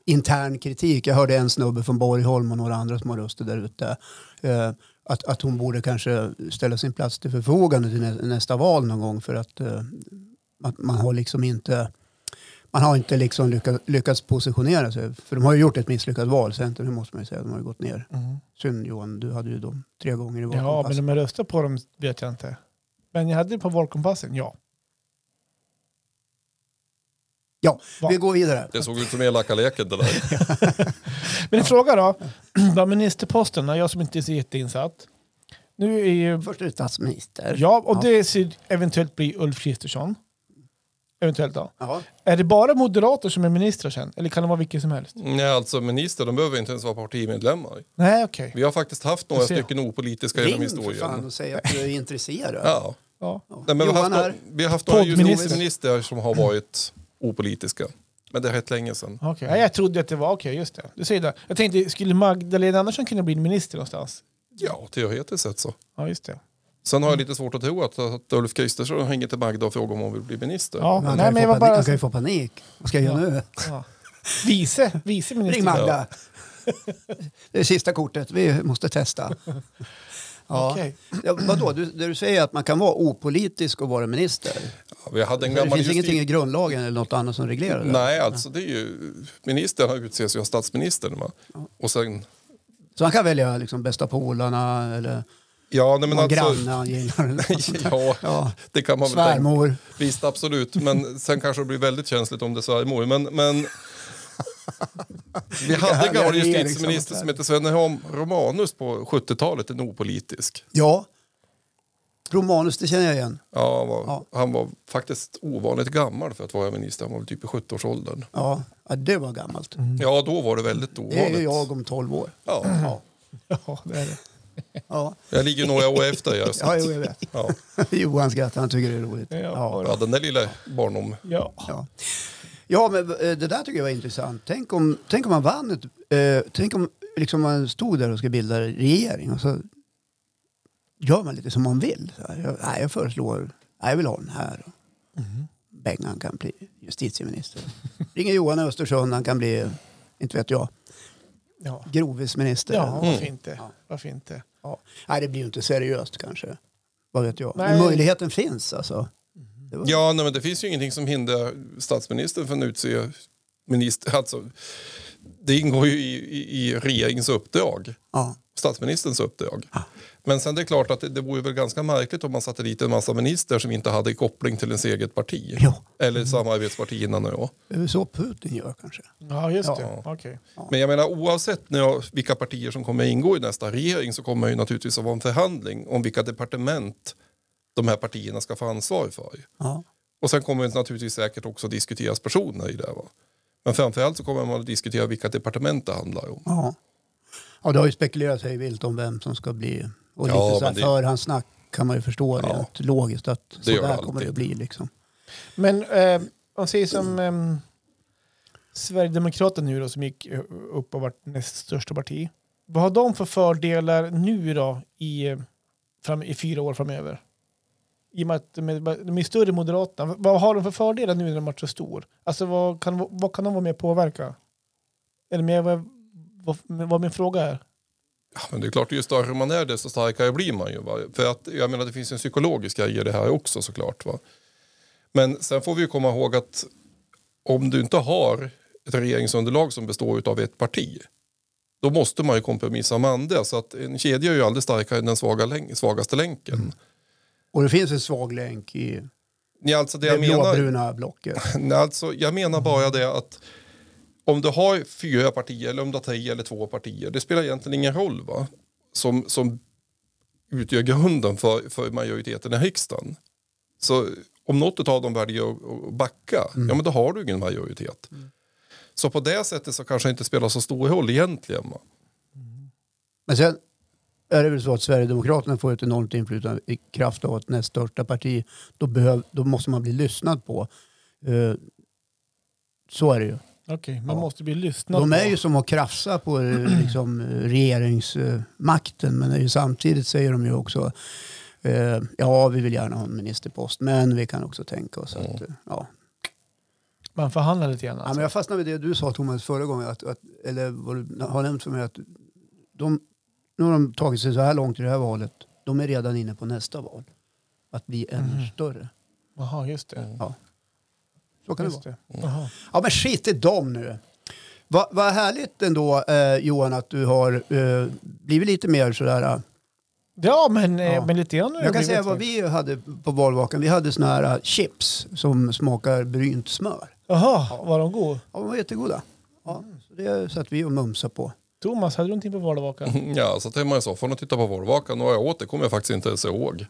intern kritik. Jag hörde en snubbe från Borgholm och några andra som har röster där ute. Eh, att, att hon borde kanske ställa sin plats till förfogande till nä, nästa val någon gång för att eh, att man har liksom inte man har inte liksom lyckats, lyckats positionera sig. För de har ju gjort ett misslyckat val, Centern, det måste man ju säga. De har ju gått ner. Mm. Synd Johan, du hade ju dem tre gånger i Ja, Alltså- valkompassen. men om jag röstar på dem vet jag inte. Men jag hade det på valkompassen, ja. Ja, Va? vi går vidare. Det såg ut som elaka leken det där. Men en fråga då. Vad ministerposterna, jag som inte är så jätteinsatt. Nu är ju... Först är det statsminister. Ja, och det ser eventuellt bli Ulf Kristersson. Eventuellt då. Ja. Är det bara moderater som är ministrar sen? Eller kan det vara vilken som helst? Nej, alltså minister, de behöver inte ens vara partimedlemmar. Nej, okej. Vi har faktiskt haft några Jag ser. stycken opolitiska genom Ring för fan historien. och säg att du är intresserad. Ja. Ja. Nej, men vi, har haft Johan några, här. vi har haft några Poddminister. justitieministrar som har varit opolitiska. Men det är rätt länge sedan. Okej, Nej, jag trodde att det var okej, just det. Du säger det. Jag tänkte, skulle Magdalena Andersson kunna bli minister någonstans? Ja, teoretiskt sett så. Ja, just det. Sen har jag lite svårt att tro att, att Ulf Kristersson hänger till Magda och frågar om hon vill bli minister. Ja, Men han, nej, kan men ju jag få var panik, bara... han kan ju få panik. Vad ska jag göra nu? Ja. Vice, vice Ring minister. Magda. Det är sista kortet. Vi måste testa. Ja. Okej. Ja, vadå, du, det du säger att man kan vara opolitisk och vara minister? Ja, vi hade en Det gammal finns justi- ingenting i grundlagen eller något annat som reglerar det? Nej, alltså det är ju... Ministern utses ju av statsministern. Va? Och sen... Så han kan välja liksom, bästa polarna eller Ja, nej, men någon alltså... granne han gillar? eller något sånt där. ja, Ja, det kan man väl tänka. svärmor. Visst, absolut. Men sen kanske det blir väldigt känsligt om det är svärmor. Men, men vi hade en härliga gammal regeringssammanhang. justitieminister som hette Svenne Rom- Romanus på 70-talet, en opolitisk. Ja. Romanus, det känner jag igen. Ja, han, var, Ja. han var faktiskt ovanligt gammal för att vara minister. Han var väl typ i 70-årsåldern. Ja, ja det var gammalt. Ja, då var det väldigt Mm. Det är ovanligt. ju jag om 12 år. Ja, Ja, Ja, det är det. ja. jag ligger några år efter. Jag, ja jo, jag vet. ja. Johan skrattar, han tycker det är roligt. Ja. ja, den där lilla barnom... Ja. Ja. ja, men eh, det där tycker jag var intressant. Tänk om, tänk om man vann ett, eh, Tänk om liksom man stod där och ska bilda regering och så gör man lite som man vill. Så här, jag, nej, jag föreslår, nej, jag vill ha den här. Bengan kan bli justitieminister. Ringer Johan i Östersund, han kan bli, inte vet jag, ja. grovisminister. Ja, Ja. varför inte? Ja. Varför inte? Nej, det blir ju inte seriöst kanske. Vad vet jag. Men Nej. möjligheten finns alltså. Det var- Ja, nej, men det finns ju ingenting som hindrar statsministern från att utse minister. Alltså, det ingår ju i, i, i regeringens uppdrag, Ja. statsministerns uppdrag. Ja. Men sen det är klart att det, det vore väl ganska märkligt om man satte dit en massa minister som inte hade koppling till ens eget parti. Ja. Mm. Eller samarbetsparti innan jag. Det är väl så Putin gör kanske. Ja, just Ja. det. Okej. Men jag menar oavsett när jag, vilka partier som kommer ingå i nästa regering så kommer det ju naturligtvis att vara en förhandling om vilka departement de här partierna ska få ansvar för. Ja. Och sen kommer det naturligtvis säkert också diskuteras personer i det. här, Va? Men framförallt så kommer man att diskutera vilka departement det handlar om. Ja. ja, det har ju spekulerats hej vilt om vem som ska bli. Och Ja, lite så här men det- förhandssnack kan man ju förstå Ja. rent logiskt att så gör det där alltid. kommer det bli liksom. Men eh, man säger som eh, Sverigedemokraterna nu då, som gick eh, upp och vart näst största parti. Vad har de för fördelar nu då i, eh, fram, i fyra år framöver? I och med att de är, de är större än Moderaterna. Vad har de för fördelar nu när de varit så stor? Alltså vad kan, vad kan de vara med och påverka? Eller med, vad, vad, vad min fråga är? Ja, men det är klart, ju större man är desto starkare blir man ju. Va? För att, jag menar, det finns en psykologisk grej i det här också såklart. Va? Men sen får vi ju komma ihåg att om du inte har ett regeringsunderlag som består av ett parti då måste man ju kompromissa med andra. Så att en kedja är ju aldrig starkare än den svaga län- svagaste länken. Mm. Och det finns en svag länk i Ja, alltså det det jag menar, blåbruna blocket. Nej, alltså, jag menar bara det att om du har fyra partier eller om du har tre eller två partier, det spelar egentligen ingen roll va? Som, som utgör grunden för, för majoriteten i riksdagen. Så om något av dem väljer att- att backa, Mm. ja men då har du ingen majoritet. Så på det sättet så kanske det inte spelar så stor roll egentligen. Va? Mm. Men sen är det väl så att Sverigedemokraterna får ett enormt inflytande i kraft av att näst största parti, då, behöv, då måste man bli lyssnad på. Eh, så är det ju. Okej, man Ja. måste bli lyssnad De är på. ju som att krafsa på eh, liksom, eh, regeringsmakten men är ju samtidigt säger de ju också eh, ja vi vill gärna ha en ministerpost men vi kan också tänka oss att eh, ja. Man förhandlar lite grann. ja Alltså. men jag fastnar vid det du sa Thomas förra gången att, att, eller vad du har nämnt för mig att de, nu har de tagit sig så här långt i det här valet de är redan inne på nästa val att bli ännu Mm. större. Jaha, just det. Så kan det vara. Just det. Jaha. Ja men skit i dem nu. Va- Vad härligt ändå eh, Johan att du har eh, blivit lite mer sådär. eh, Ja, men, eh, Ja. men lite grann. har det Jag kan blivit säga vad faktiskt. vi hade på valvakan. Vi hade såna här eh, chips som smakar brynt smör. Jaha, var de god? Ja, de var jättegoda. Ja, så det satt vi och mumsade på. Thomas, hade du någonting på valvakan? Ja, satt hemma i soffan och tittade på valvakan och vad jag åt det kommer jag faktiskt inte ens ihåg.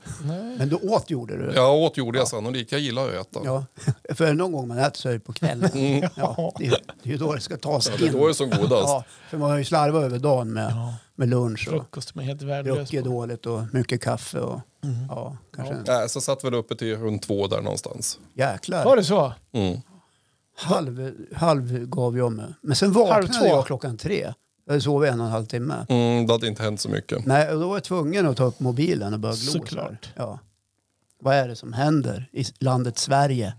Men du åt gjorde du? Jag åt gjorde jag sannolikt, jag gillar att äta. Ja. För någon gång man äter så är det på kvällen. Ja, det, är, det är ju då det ska tas in. det är då det är som godast. Ja, för man har ju slarvat över dagen med, med lunch och Frukost med helt värdelös druckit på. dåligt och mycket kaffe och ja, kanske en Nej, Äh, så satt väl uppe till runt två där någonstans. Var jäklar. det så? Mm. Halv, halv gav jag mig. Men sen Halv två. vaknade jag klockan tre. Jag sov en och en halv timme. Mm, det hade inte hänt så mycket. Nej, och då var jag tvungen att ta upp mobilen och börja glo. Såklart. Ja. Vad är det som händer i landet Sverige?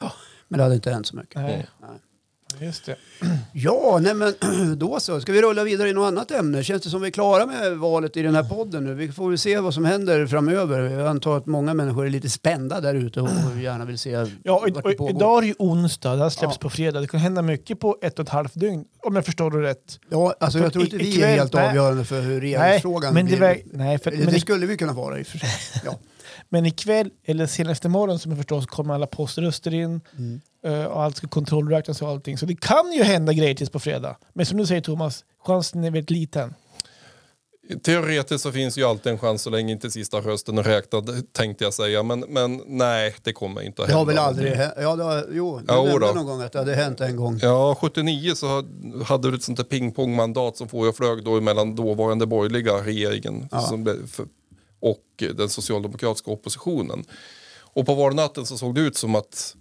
Ja, men det hade inte hänt så mycket. Nej. Just det. Ja, nej men då så. Ska vi rulla vidare i något annat ämne? Känns det som vi är klara med valet i den här podden nu? Vi får väl se vad som händer framöver. Jag antar att många människor är lite spända där ute och gärna vill se Ja, och, vart och, det pågår. idag är det ju onsdag, det här släpps Ja. på fredag. Det kan hända mycket på ett och ett halvt dygn, om jag förstår det rätt. Ja, alltså jag tror inte I- vi ikväll- är helt nej. avgörande för hur regeringsfrågan men, det blir. var, nej för, Eller men, det i, skulle vi kunna vara i och för sig. Ja. men ikväll, eller senast imorgon som jag förstår, så kommer alla poströster in Mm. eh, och allt ska kontrollräknas och allting. Så det kan ju hända grejer tills på fredag. Men som du säger Thomas, chansen är väldigt liten. Teoretiskt så finns ju alltid en chans så länge inte sista rösten är räknad tänkte jag säga. Men, men nej, det kommer inte att Det hända. har väl aldrig hänt? Ja, det har, jo, du Ja, nämnde då. någon gång att det hade hänt en gång. Ja, 79 så hade- hade du ett sånt där pingpongmandat som får jag flög då mellan dåvarande borgerliga regeringen som blev för, och den socialdemokratiska oppositionen. Och på valnatten så såg det ut som att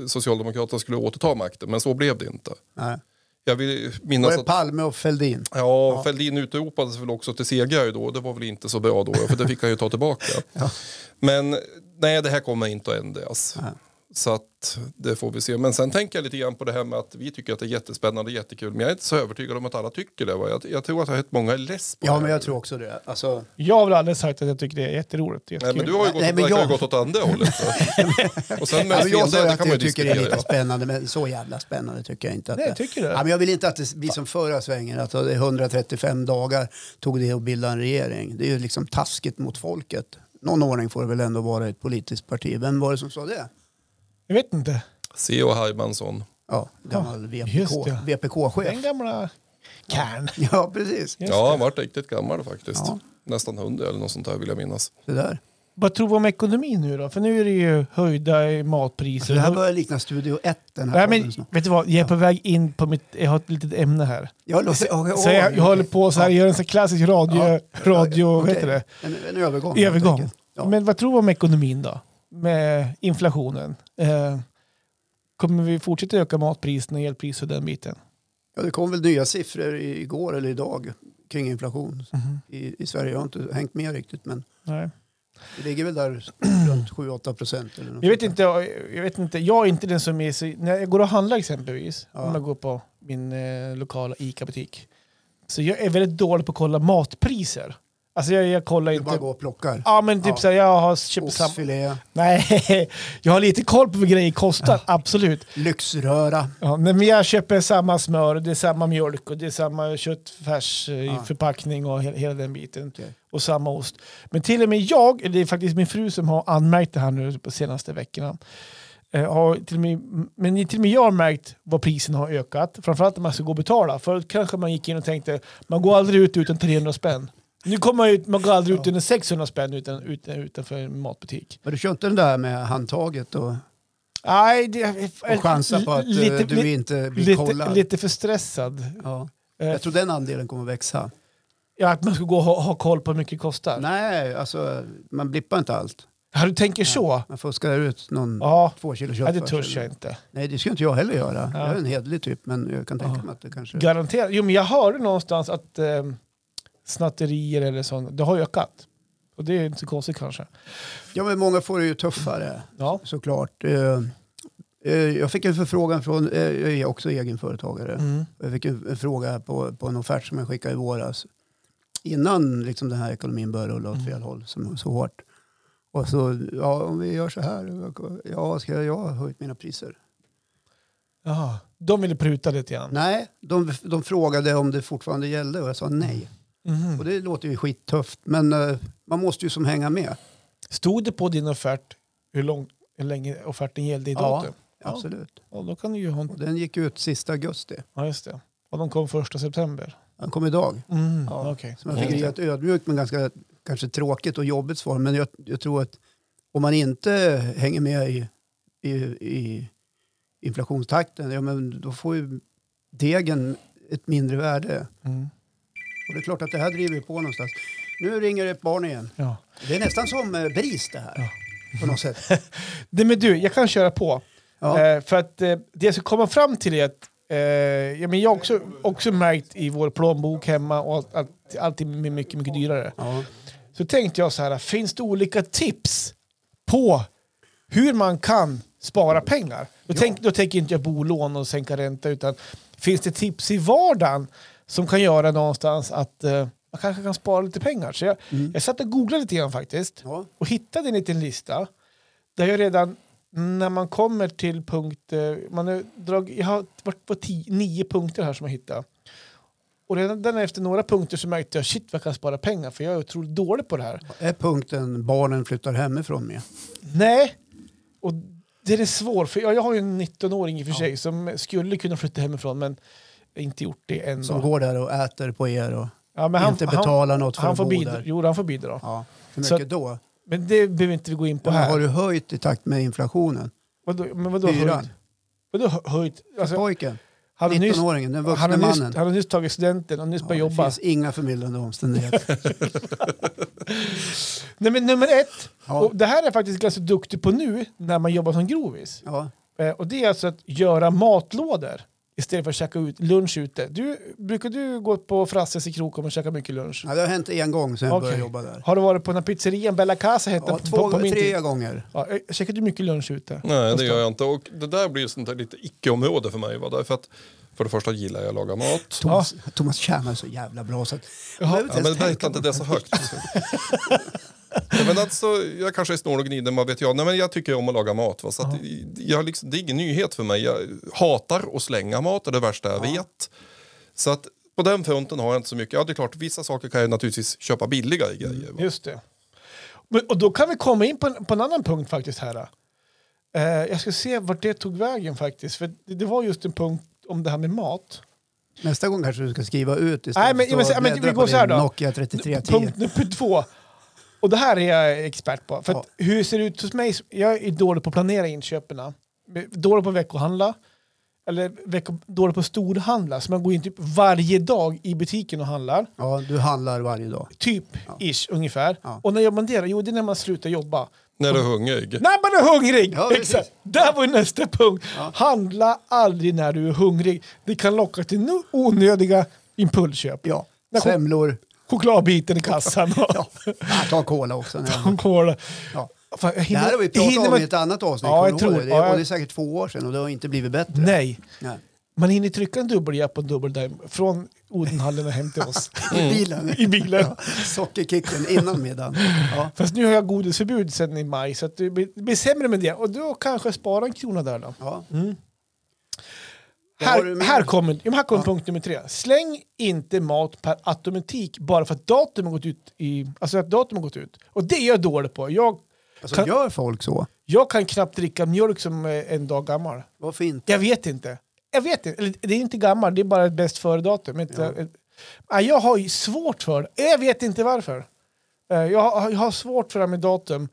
eh, Socialdemokraterna skulle återta makten, men så blev det inte. Nej. Jag vill Var minnas det att Palme och Fälldin? Ja, Fälldin utropades väl också till segrare då. Det var väl inte så bra då, för det fick han ju ta tillbaka. Men nej, det här kommer inte att ändras. Så att det får vi se. Men sen tänker jag lite grann på det här med att vi tycker att det är jättespännande och jättekul. Men jag är inte så övertygad om att alla tycker det. Va? Jag, jag tror att rätt många är less på Ja, det. men jag tror också det. Alltså, Jag har väl aldrig sagt att jag tycker det är jätteroligt. Det är Nej, men du jättekul. har ju gått, Nej, åt- men verkar jag- ha gått åt andra hållet. va? och sen med Ja, men jag sa Svinde, ju det att kan man ju jag tycker det är diskutera. lite ja. spännande, men så jävla spännande tycker jag inte. Att Nej, tycker du? Ja, men jag vill inte att det blir som förra svängen, att det är 135 dagar tog det att bilda en regering. Det är ju liksom taskigt mot folket. Någon ordning får det väl ändå vara i ett politiskt parti. Vem var det som sa det? Jag vet inte. C.O. Hermansson. Ja, gammal just det. VPK, VPK-chef. Den gamla kärn. Ja, precis. Just Ja, det. han vart riktigt gammal faktiskt. Ja. Nästan 100 eller något sånt där vill jag minnas. Det där. Vad tror vi om ekonomin nu då? För nu är det ju höjda Så matpriser. Alltså, det här börjar likna Studio 1 den här Nej, podden men, snart. vet du vad, jag är på väg in på mitt, jag har ett litet ämne här. Ja, låt- ja, Så jag, jag ja, håller på så här, ja. jag gör en sån klassisk radio, Ja. radio vad Okej. heter det? En, en övergång. helt övergång. enkelt. Ja. Men vad tror du om ekonomin då? Med inflationen. Eh, kommer vi fortsätta öka matpriserna, elpriser och den biten? Ja, det kom väl nya siffror i- igår eller idag kring inflation i, i Sverige. Jag har inte hängt med riktigt men Nej. det ligger väl där runt 7-8 procent. Eller något Jag vet sånt inte, jag, jag vet inte, jag är inte den som är så, när jag går och handlar exempelvis, Ja. om jag går på min eh, lokala ICA-butik, så jag är väldigt dålig på att kolla matpriser. Alltså jag, jag kollar där. Du bara inte... går och plockar. Ja men typ Ja. så här, jag har köpt samma... Oxfilé, Nej, jag har lite koll på vad grejer kostar, absolut. lyxröra. Ja, nej, men jag köper samma smör, det är samma mjölk och det är samma köttfärs eh, i Ja. förpackning och he- hela den biten. Okej. Och samma ost. Men till och med jag, eller det är faktiskt min fru som har anmärkt det här nu på senaste veckorna. Eh, har till och med, men till och med jag har märkt vad priserna har ökat. Framförallt när man ska gå och betala. Förut kanske man gick in och tänkte man går aldrig ut utan 300 spänn. Nu kommer man ut, man går aldrig ut utan 600 spänn utan, utan, utanför en matbutik. Men du kör inte den där med handtaget och, Nej, det, och chansar på att eh, lite, du li- inte blir lite, kollad. lite för stressad. Ja. Eh, Jag tror den andelen kommer växa. Ja, att man ska gå och ha, ha koll på hur mycket det kostar. Nej, alltså man blippar inte allt. Ja, du tänker så? Man fuskar ut någon Ja, två kilo ja kött. det först törs jag eller- inte. Nej, det skulle inte jag heller göra. Ja. Jag är en hederlig typ men jag kan tänka Ja. mig att det kanske... Garanterat. Jo, men jag hörde någonstans att eh, snatterier eller sånt, det har ökat. Och det är inte så konstigt kanske. Ja, men många får det ju tuffare Ja. såklart. Eh, eh, Jag fick en förfrågan från, eh, jag är också egenföretagare, Mm. jag fick en en fråga på, på en offert som jag skickade i våras. Innan liksom den här ekonomin började rulla Mm. åt fel håll som så hårt. Och så, ja om vi gör så här, ja ska jag, jag har höjt mina Mm. priser. Jaha. De ville pruta lite grann. Nej, de, de frågade om det fortfarande gällde och jag sa nej. Mhm. Och det låter ju skittufft men eh, man måste ju som hänga med. Stod det på din offert hur, lång, hur länge offerten gällde i Ja. datum? Ja. Absolut. Ja, då kan du ju ha en... Och den gick ut sista augusti. Ja, just det. Och de kom första september. Han kom idag. Mm, Ja. okej. Som jag fick Mm. ge ett ödmjukt men ganska kanske tråkigt och jobbigt svar. Men jag, jag tror att om man inte hänger med i, i, i inflationstakten, ja, men då får ju degen ett mindre värde. Mm. Och det är klart att det här driver ju på någonstans. Nu ringer ett barn igen. Ja. Det är nästan som eh, BRIS det här. Ja. På något sätt. Det men du, jag kan köra på. Ja. Eh, för att eh, det jag ska komma fram till är att eh, ja, men jag har också, också märkt i vår plånbok hemma och allt, allt, allting blir mycket, mycket dyrare. Ja. Så tänkte jag så här, finns det olika tips på hur man kan spara pengar? Då, tänk, då tänker inte jag bolån och sänka ränta, utan finns det tips i vardagen som kan göra någonstans att eh, man kanske kan spara lite pengar? Så jag, jag satt och googlade lite grann faktiskt Ja. och hittade en liten lista där jag redan när man kommer till punkt... eh, Man har drag, jag har varit på tio, nio punkter här som jag hittade. Och redan den efter några punkter så märkte jag shit vad jag kan spara pengar för jag är otroligt dålig på det här. Är punkten barnen flyttar hemifrån med? Nej, och det är svårt för jag, jag har ju en 19-åring i och för sig som skulle kunna flytta hemifrån men inte gjort det än. Som då. går där och äter på er och ja, men han, inte han, betalar något för han att får bo bidra. där. Jo, han får bidra. Ja. Hur Så- mycket då? Men det behöver inte vi gå in på Ja, men här. har du höjt i takt med inflationen? vadå, men vadå Hyran. höjt? Vadå hö- höjt? Alltså, Pojken, han har nyss, 19-åringen, den vuxne han har nyss, mannen. han har nyss tagit studenten och nyss börjat Ja, det jobba. finns inga förmildrande omständigheter. Nej, men nummer ett, Ja. och det här är jag faktiskt ganska duktig på nu när man jobbar som grovis. Ja. Eh, Och det är alltså att göra matlådor istället för att käka ut, lunch ute. Du, brukar du gå på Frasses i Krokom och käka mycket lunch? Ja, det har hänt en gång sedan jag Okej. började jobba där. Har du varit på den här pizzerian Bella Casa hette Ja, den på, två, på min tre tid? gånger. Ja, eh, käkar du mycket lunch ute? Nej, det gör jag inte. Och det där blir ju sånt där lite icke-område för mig. Va? Därför att, för det första gillar jag att laga mat. Thomas, Thomas Tjärna är så jävla bra så att... Jag behöver Ja, ens men det där tänka hittar inte på det så högt. Nej, men alltså, jag kanske är snål och gnider, vad vet jag. Nej, men jag tycker om att laga mat. Va? Så att, jag, liksom, det är ingen nyhet för mig. Jag hatar att slänga mat, det är det värsta jag vet. Så att, på den fronten har jag inte så mycket. Ja, det är klart, vissa saker kan jag naturligtvis köpa billiga grejer. Mm. Va? Just det. Men, och då kan vi komma in på en, på en annan punkt faktiskt här. då. Eh, jag ska se vart det tog vägen faktiskt. För det, det var just en punkt om det här med mat. Nästa gång kanske du ska skriva ut istället Nej, men- för men- att stå och men vi bläddra går på så här din då. Nokia 3310. Punkt nummer två. Och det här är jag expert på. För att hur ser det ut hos mig? Jag är dålig på att planera inköpen. Dålig på att veckohandla. Eller vecko, dålig på att storhandla. Så man går in typ varje dag i butiken och handlar. Ja, du handlar varje dag. Typ, ish, ungefär. Ja. Och när gör man det då? Jo, det är när man slutar jobba. När du är hungrig. När man är hungrig! Ja, precis. Exakt. Där var ju nästa punkt. Handla aldrig när du är hungrig. Det kan locka till no- onödiga impulsköp. Ja, När kom- semlor. Chokladbiten i kassan. Och, ja. Ja, ta cola också. När jag... ja. Fan, jag Det hinner- här har vi pratat hinner om man- i ett annat avsnitt. Ja, jag kommer du ihåg tror- det, ja, jag- och det är säkert två år sedan och det har inte blivit bättre. Nej, Nej. man hinner trycka en dubbeljapp och en dubbeldime från Odenhallen och hem till oss I bilen. i bilen. Sockerkicken innan middagen. Ja. Fast nu har jag godisförbud sen i maj så att det blir, det blir sämre med det. Och då kanske spara en krona där då. Ja. Vad har du Här, med? här kommer, ja, men här kommer punkt nummer tre. Släng inte mat per automatik bara för att datum har gått ut. I, alltså att datum har gått ut. Och det är jag dålig på. Jag, Alltså, kan, Gör folk så? jag kan knappt dricka mjölk som är en dag gammal. Varför inte? Jag vet inte. Jag vet inte. Eller, det är inte gammal, det är bara ett bäst före-datum. Ett- eh, ett- Nej, Jag har ju svårt för det. Jag vet inte varför. Eh, Jag har, jag har svårt för det här med datum.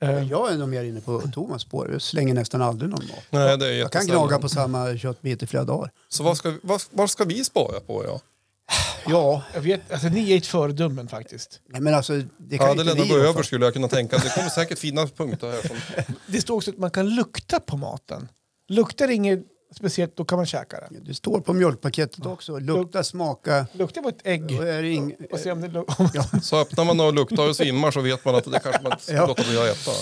Eh, Jag är nog mer inne på Thomas spår. Jag slänger nästan aldrig någon mat. Nej, det är Jag kan jättesällan. gnaga på samma köttbit i flera dagar. Så vad ska, vi- vad, vad ska vi spara på? Ja? Ja, Jag vet, alltså, ni är ett föredömen faktiskt. nej, men alltså det kan Ja, det inte lämnar vi gå rå över för. skulle jag kunna tänka. Det kommer säkert finnas punkter här. Som, Det står också att man kan lukta på maten. Luktar inget speciellt, då kan man käka det. Det står på mjölkpaketet också. Lukta, smaka. Lukta på ett ägg Och är det ing... och se om det luktar. så öppnar man och luktar och svimmar så vet man att det kanske man inte ska Ja. låta bli att äta.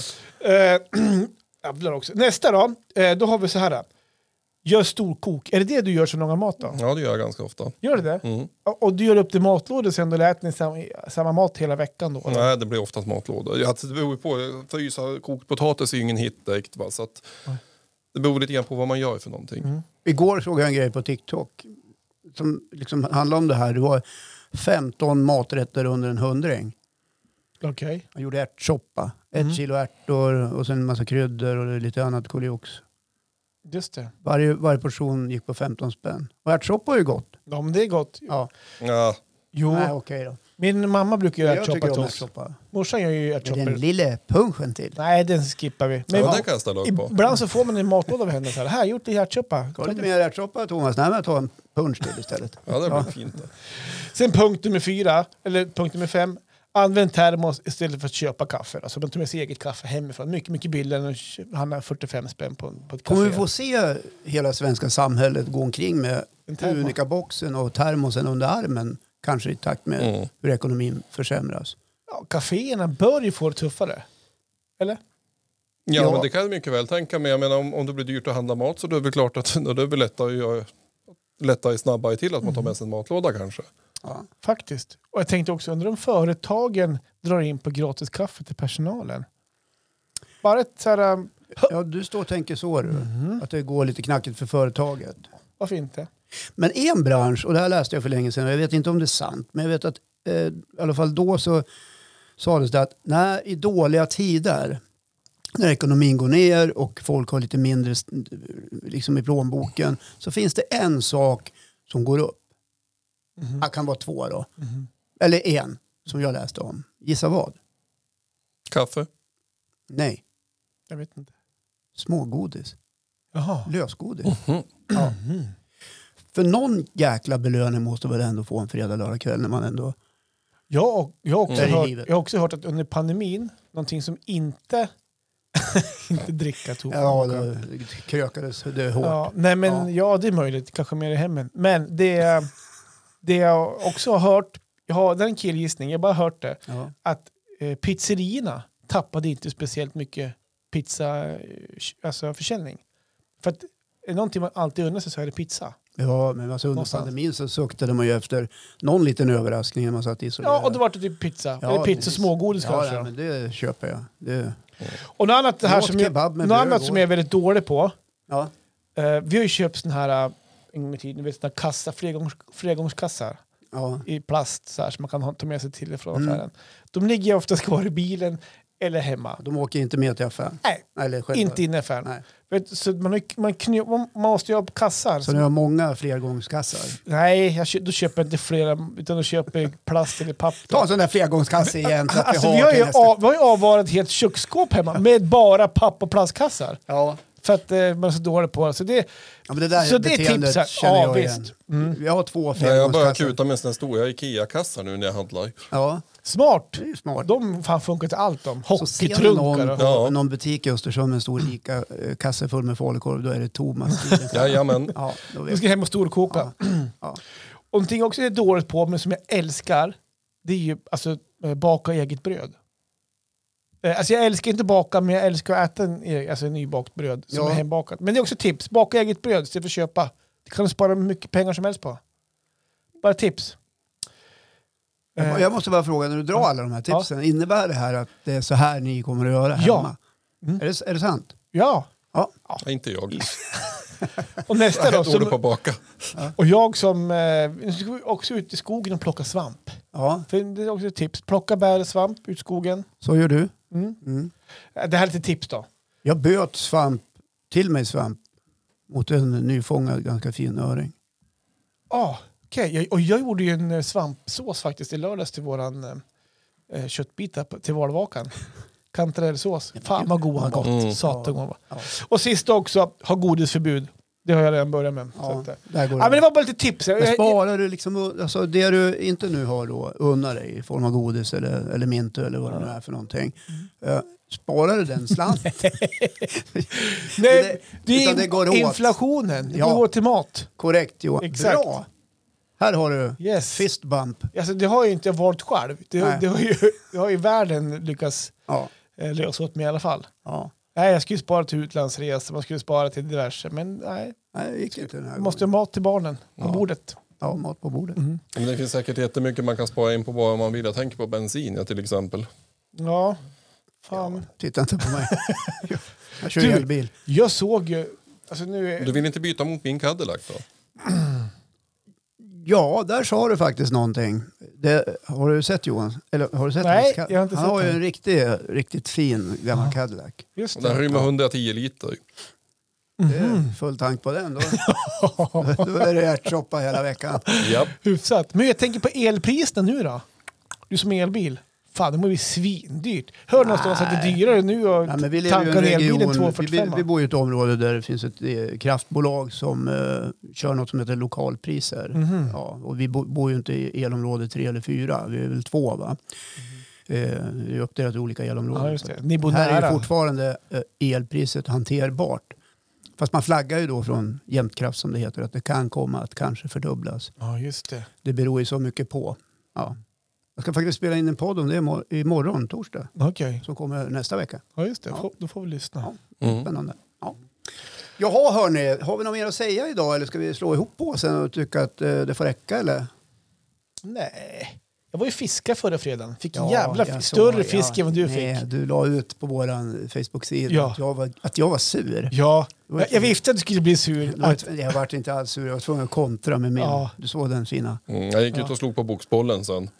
Eh, jävlar också. Nästa då. Eh, Då har vi så här. Gör storkok. Är det det du gör så långa mat då? Ja, det gör jag ganska ofta. Gör du det? Mm. Och och du gör upp till matlådor sen då äter ni samma, samma mat hela veckan då? eller? Nej, det blir oftast matlådor. Ja, alltså, Det beror ju på. Frysa kokt potatis är ju ingen hit direkt. Va? Så att, det beror lite grann på vad man gör för någonting. Mm. Mm. Igår såg jag en grej på TikTok som liksom handlade om det här. Det var 15 maträtter under en hundring. Okej. Han gjorde ärtsoppa. Ett Mm. kilo ärtor och sen en massa kryddor och lite annat koliox. Just det. Varje, varje portion gick på 15 spänn. Och ärtsoppa är ju gott. Ja, men det är gott. Ja. Ja, Jo, Nej, okej då. min mamma brukar göra Jag tycker ärtsoppa till om oss. ärtsoppa. Morsan gör ju Med den ärtsoppor. lille punchen till. Nej, den skippar vi. Men ja det kan jag ställa upp på. ibland så får man en matlåda av henne. Så här, här gjort lite ärtsoppa. Ta lite mer ärtsoppa Thomas. Nej, men ta en punch till istället. Ja, det blir fint. det. Sen punkt nummer fyra, eller punkt nummer fem. Använd termos istället för att köpa kaffe. Alltså, de tar med sig eget kaffe hemifrån. Mycket, mycket billigare än att kö- handla 45 spänn på, på ett Kommer vi café. få se hela svenska samhället gå omkring med En termos. Unica-boxen och termosen under armen? Kanske i takt med Mm. hur ekonomin försämras. Ja, kaféerna bör ju få det tuffare. Eller? Ja, Ja. men det kan jag mycket väl tänka mig. Jag menar, om, om det blir dyrt att handla mat så då är det väl klart att då är det väl lättare, att göra- lättare snabbare till att man tar Mm. med sig en matlåda kanske. Ja. Faktiskt. Och jag tänkte också, undrar om företagen drar in på gratis kaffe till personalen? Bara ett så här, um, ja, du står och tänker så du. Mhm. Att det går lite knackigt för företaget. varför inte? Men en bransch, och det här läste jag för länge sedan och jag vet inte om det är sant, men jag vet att eh, i alla fall då så sades det att nej, i dåliga tider när ekonomin går ner och folk har lite mindre s- liksom i plånboken så finns det en sak som går upp. Mhm. Det kan vara två då. Mhm. Eller en som jag läste om. Gissa vad? Kaffe? Nej, Jag vet inte. smågodis. Jaha. Lösgodis. Ja. För någon jäkla belöning måste väl ändå få en fredag, lördag kväll när man ändå... Jag, och- jag, har också Mm. hört, Det är livet. jag har också hört att under pandemin, någonting som inte, inte dricka tobak. Ja, det det krökades det hårt. Ja, nej men ja. Ja. det är möjligt, kanske mer i hemmen. Men det, det jag också har hört, jag har, det är en killgissning, jag har bara hört det, Ja. att eh, pizzerierna tappade inte speciellt mycket pizza, eh, alltså försäljning. För att är det någonting man alltid undrar sig så är det pizza. Ja, men alltså under Någonstans. pandemin så suktade man ju efter någon liten överraskning när man satt isolerad. Ja, och då var det typ pizza. Ja, Eller pizza precis. och smågodis ja, kanske. nej, då. men det köper jag. Det, Och något annat, det här Låt som, jag, kebab med något bröd annat gå. som jag är väldigt dålig på, ja. eh, vi har ju köpt sån här, eh, en gång i tiden, ni vet, såna kassa, flergångs, flergångskassar. Ja. i plast så här, som man kan ha- ta med sig till och från Mm. affären. De ligger ju oftast kvar i bilen eller hemma. De åker inte med till affären. Nej, Eller själva. inte inne i affären. Nej. Vet, du, så man, har ju- man, knö, man man måste ju ha kassar. Så ni har många flergångskassar. Nej, jag, kö- då köper jag inte flera, utan då köper jag plast eller papp. Ta en sån där flergångskasse igen så att Alltså, vi vi, har har till ju nästa. av, vi har ju avvarat ett helt köksskåp hemma med bara papp och plastkassar. Ja. För att eh, man är så dålig på det. Så det. ja, men det där Så det är beteendet tips här. känner Mm. Ja, jag visst. igen. Jag har två Nej, jag börjar flergångskassar. kuta med en stora IKEA-kassar nu när jag handlar. Ja, Smart! det är ju smart. De fan funkar till allt de. Så ser ni någon, Hockeytrunkar och... Ja. någon butik i Östersund med en stor ICA-kasse full med falukorv, då är det Thomas. Jajamän. Ja, då vet Jag ska hem och storkoka. Ja. Ja. Och någonting också jag är dåligt på, men som jag älskar, det är ju alltså, eh, baka eget bröd. Eh, Alltså jag älskar inte baka, men jag älskar att äta en, eh, alltså en nybakt bröd som Ja. är hembakat. Men det är också tips, baka eget bröd istället för att köpa. Det kan du spara hur mycket pengar som helst på. Bara tips. Jag må- Eh, Jag måste bara fråga, när du drar alla de här tipsen, innebär det här att det är så här ni kommer att göra Ja. hemma? Mm. Är, det, är det sant? ja, Nej, inte jag. och nästa Jag då. är dålig på Som, att baka. och jag som, eh, nu ska vi också ut i skogen och plocka svamp. Ja, För det är också ett tips, plocka bär och svamp ut i skogen. så gör du. Mm. Mm. Eh, Det här är lite tips då. Jag böt svamp, till mig svamp, mot en nyfångad ganska fin öring. Ja, Ah, okej. Jag, och jag gjorde ju en eh, svampsås faktiskt i lördags till våran eh, eh, köttbit här på- till valvakan. Kantarellsås. Fan vad god han gott. Mm. Satan vad bra. Ja. Och sist också, ha godisförbud. Det har jag redan börjat med. Så Ja, att, eh. där går ja, men det det. var bara lite tips. Jag, Men jag, sparar du liksom, alltså det du inte nu har då, unnar dig i form av godis eller, eller mintu eller vad det nu är för någonting. Mm. Eh, Sparar du den slanten? nej, det- det är utan det går åt. inflationen. Det Ja. går åt till mat. Korrekt Johan. Exakt. Bra! Här har du Yes. fist bump. Alltså, det har ju inte jag valt själv. Det, Nej. det, har ju, det har ju världen lyckats Ja. eh, lösa åt mig i alla fall. ja. Nej, jag skulle spara till utlandsresor, man skulle spara till diverse, men nej, Nej, det gick inte den här måste Mm. gången. ha mat till barnen på Ja. bordet. Ja, mat på bordet. Men det finns säkert jättemycket man kan spara in på bara om man vill. Jag tänker på bensin ja, till exempel. Ja, fan. Titta inte på mig. Jag kör Du- elbil. Jag såg ju... Alltså nu är, Du vill inte byta mot min Cadillac då? Ja, där sa du faktiskt någonting. Det, har du sett Johan? Eller har du sett Nej, hans Cad- jag har inte Han sett har ju den. en riktig, riktigt fin gammal Cadillac. just Den det. rymmer 110 liter. Mm-hmm. Det är full tank på den. Då, då är det ärtsoppa hela veckan. Japp. Hyfsat. Men jag tänker på elpriserna nu då. Du som är elbil. Fan, det må bli svindyrt. Hör någonstans att det är dyrare nu att Nej, men vi lever ju i tanka en en elbil än region, vi, vi, 245. vi bor i ett område där det finns ett eh, kraftbolag som eh, kör något som heter lokalpriser. Mm. Mhm. Ja, och vi bo, bor ju inte i elområde 3 eller 4, vi är väl 2 va? Eh, det är uppdelat i olika elområden. Mm-hmm. Ja, just det. Ni bor här är nära. ju fortfarande eh, elpriset hanterbart. Fast man flaggar ju då från Jämtkraft som det heter att det kan komma att kanske fördubblas. Ja, just det. Det beror ju så mycket på. Ja. Jag ska faktiskt spela in en podd om det imor- imorgon, torsdag, Okej. som kommer nästa vecka. Ja, just det. Ja. Får- Då får vi lyssna. Mm. Spännande. Ja. Jaha hörni, har vi något mer att säga idag eller ska vi slå ihop påsen och tycka att eh, det får räcka eller? Nej. Jag var ju fiska förra fredagen. Fick en Ja, jävla jag fisk. såg- Större fisk ja, än vad du nej, fick. Du la ut på våran Facebook-sida Ja. att, jag var, att jag var sur. Ja, var jag, jag visste att du skulle bli sur. Jag, Att, jag vart inte alls sur, jag var tvungen att kontra med min. Ja. Du såg den fina. Mm. Jag gick ut och slog på boxbollen sen.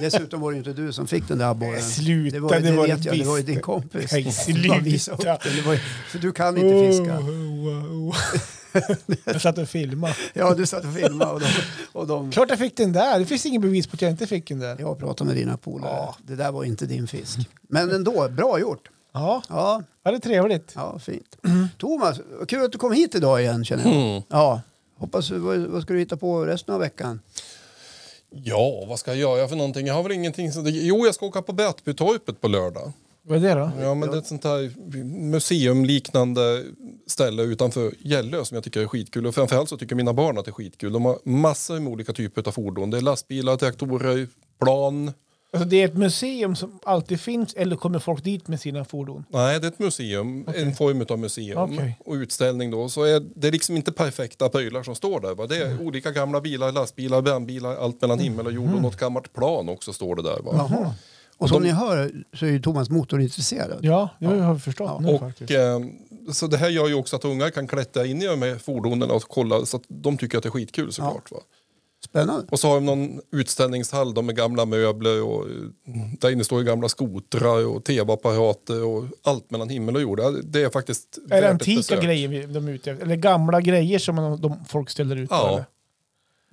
Dessutom var det ju inte du som fick den där abborren. sluta, det var, det det var vet det jag, det var ju visst. din kompis. Nej, Du bara visade upp sluta. den. Det var ju- För du kan inte fiska. Oh, oh, oh. jag satt och filmade. Ja, du satt och filmade och de, och de Klart jag fick den där. Det finns ingen bevis på att jag inte fick den där. Jag har pratat med dina polare. Ja. Det där var inte din fisk. Men ändå, bra gjort. Ja, Ja, ja det är trevligt. ja fint. Thomas, vad kul att du kom hit idag igen känner jag. Mm. Ja, hoppas, vad, vad ska du hitta på resten av veckan? Ja, vad ska jag göra för någonting? Jag har väl ingenting. som- Jo, jag ska åka på Vätbytorpet på lördag. Vad är det då? Ja, men det är ett sånt här museumliknande ställe utanför Gällö som jag tycker är skitkul. Och framförallt så tycker mina barn att det är skitkul. De har massor med olika typer av fordon. Det är lastbilar, traktorer, plan. Alltså, det är ett museum som alltid finns eller kommer folk dit med sina fordon? Nej, det är ett museum, en form av museum Okej. och utställning då. Så är det är liksom inte perfekta prylar som står där. Va? Det är Mm. olika gamla bilar, lastbilar, brandbilar, allt mellan himmel och jord och något gammalt plan också står det där. Va? Jaha. Och som ni hör så är ju Thomas motorintresserad. Ja, det har vi förstått nu Och, faktiskt. eh, så det här gör ju också att unga kan klättra in i de här fordonen och kolla så att de tycker att det är skitkul såklart. Va? Spännande. Och så har de någon utställningshall då med gamla möbler och eh, där inne står ju gamla skotrar och tv-apparater och allt mellan himmel och jord. Ja, Det är faktiskt Är värt det ett antika besök. grejer vi- de är ute efter? Eller gamla grejer som de, de folk ställer ut? Ja. eller?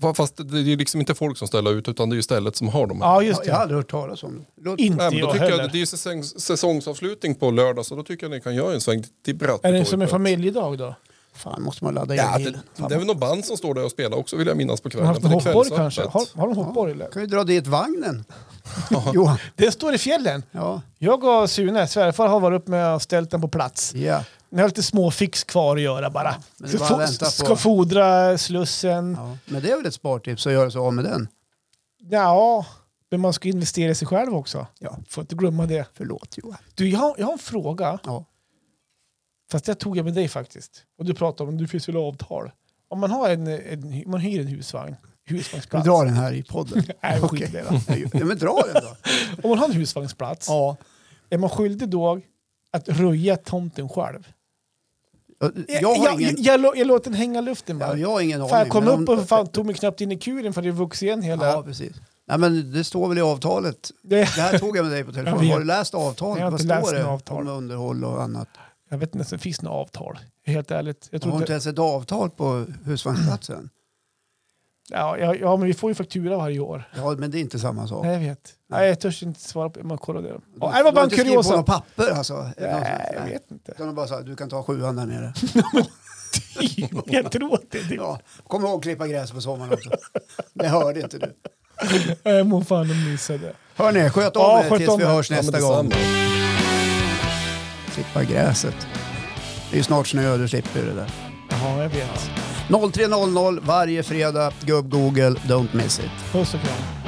Fa- Fast det är ju liksom inte folk som ställer ut utan det är ju stället som har dem. ja Ja, just det. jag har aldrig hört talas om det. Låt, Inte Nej, men då jag tycker heller. jag att det är ju säsong, säsongsavslutning på lördag så då tycker jag ni kan göra en sväng till Bratt. Är det som en familjedag då? Fan, måste man ladda in Ja, det, bilen? Fan, det är väl någon band som står där och spelar också vill jag minnas på De har kvällen. haft men det är hoppborg kvällsöppet. kanske? Har, har de hoppborg eller? kan ju dra dit vagnen. Johan. Det står i fjällen. Ja. Jag och Sune, svärfar, har varit uppe med och ställt den på plats. Ja. Ni har lite små fix kvar att göra bara. men det är bara Ska att vänta fo- på- Ska fodra slussen. ja. Men det är väl ett spartips att göra sig av med den? Ja, men man ska investera i sig själv också. Ja. Får inte glömma det. Förlåt Johan. Du, jag har, jag har en fråga. Ja. Fast det tog jag med dig faktiskt. Och du pratade om det finns väl avtal. Om man, har en, en, man hyr en husvagn, Ska vi husvagnsplats. dra den här i podden? Nej, skit i Okej. det då. Ja, men dra den då. Om man har en husvagnsplats, Ja. är man skyldig då att röja tomten själv? Jag, jag har ingen jag, jag, lå- jag låter den hänga i luften Ja, bara. jag har ingen aning. fan, jag kom men om- upp och fan, tog mig knappt in i kuren för det vuxit igen hela... Ja, precis. Nej, men det står väl i avtalet. det, Det här tog jag med dig på Jag telefon. vet. Har du läst avtalet? Jag har Vad inte står läst det något avtal. om underhåll och annat? jag vet inte ens om det finns något avtal. Helt ärligt. Jag Jag tror har inte inte, ens ett avtal på husvagnsplatsen. ja, ja, ja, men vi får ju faktura varje år. Ja, men det är inte samma sak. Nej, jag vet. Nej, jag törs inte svara på det. Man kollar det. Du- Ja, det var du har bara en inte skrivit på kuriosa. något papper alltså? Nej, jag vet inte. Utan de bara sa, du kan ta sjuan där nere. jag tror att det är typ- det. Ja, kom ihåg klippa gräs på sommaren också. Det hörde inte du. Jag mår fan och missade. Hörni, sköt om Ja, er sköt tills om vi er. hörs Ja, men nästa detsamma. gång. Klippa gräset. Det är ju snart snö, du slipper ju det där. Ja, jag vet. 03.00 varje fredag. Gubb-Google, don't miss it. Puss och kram.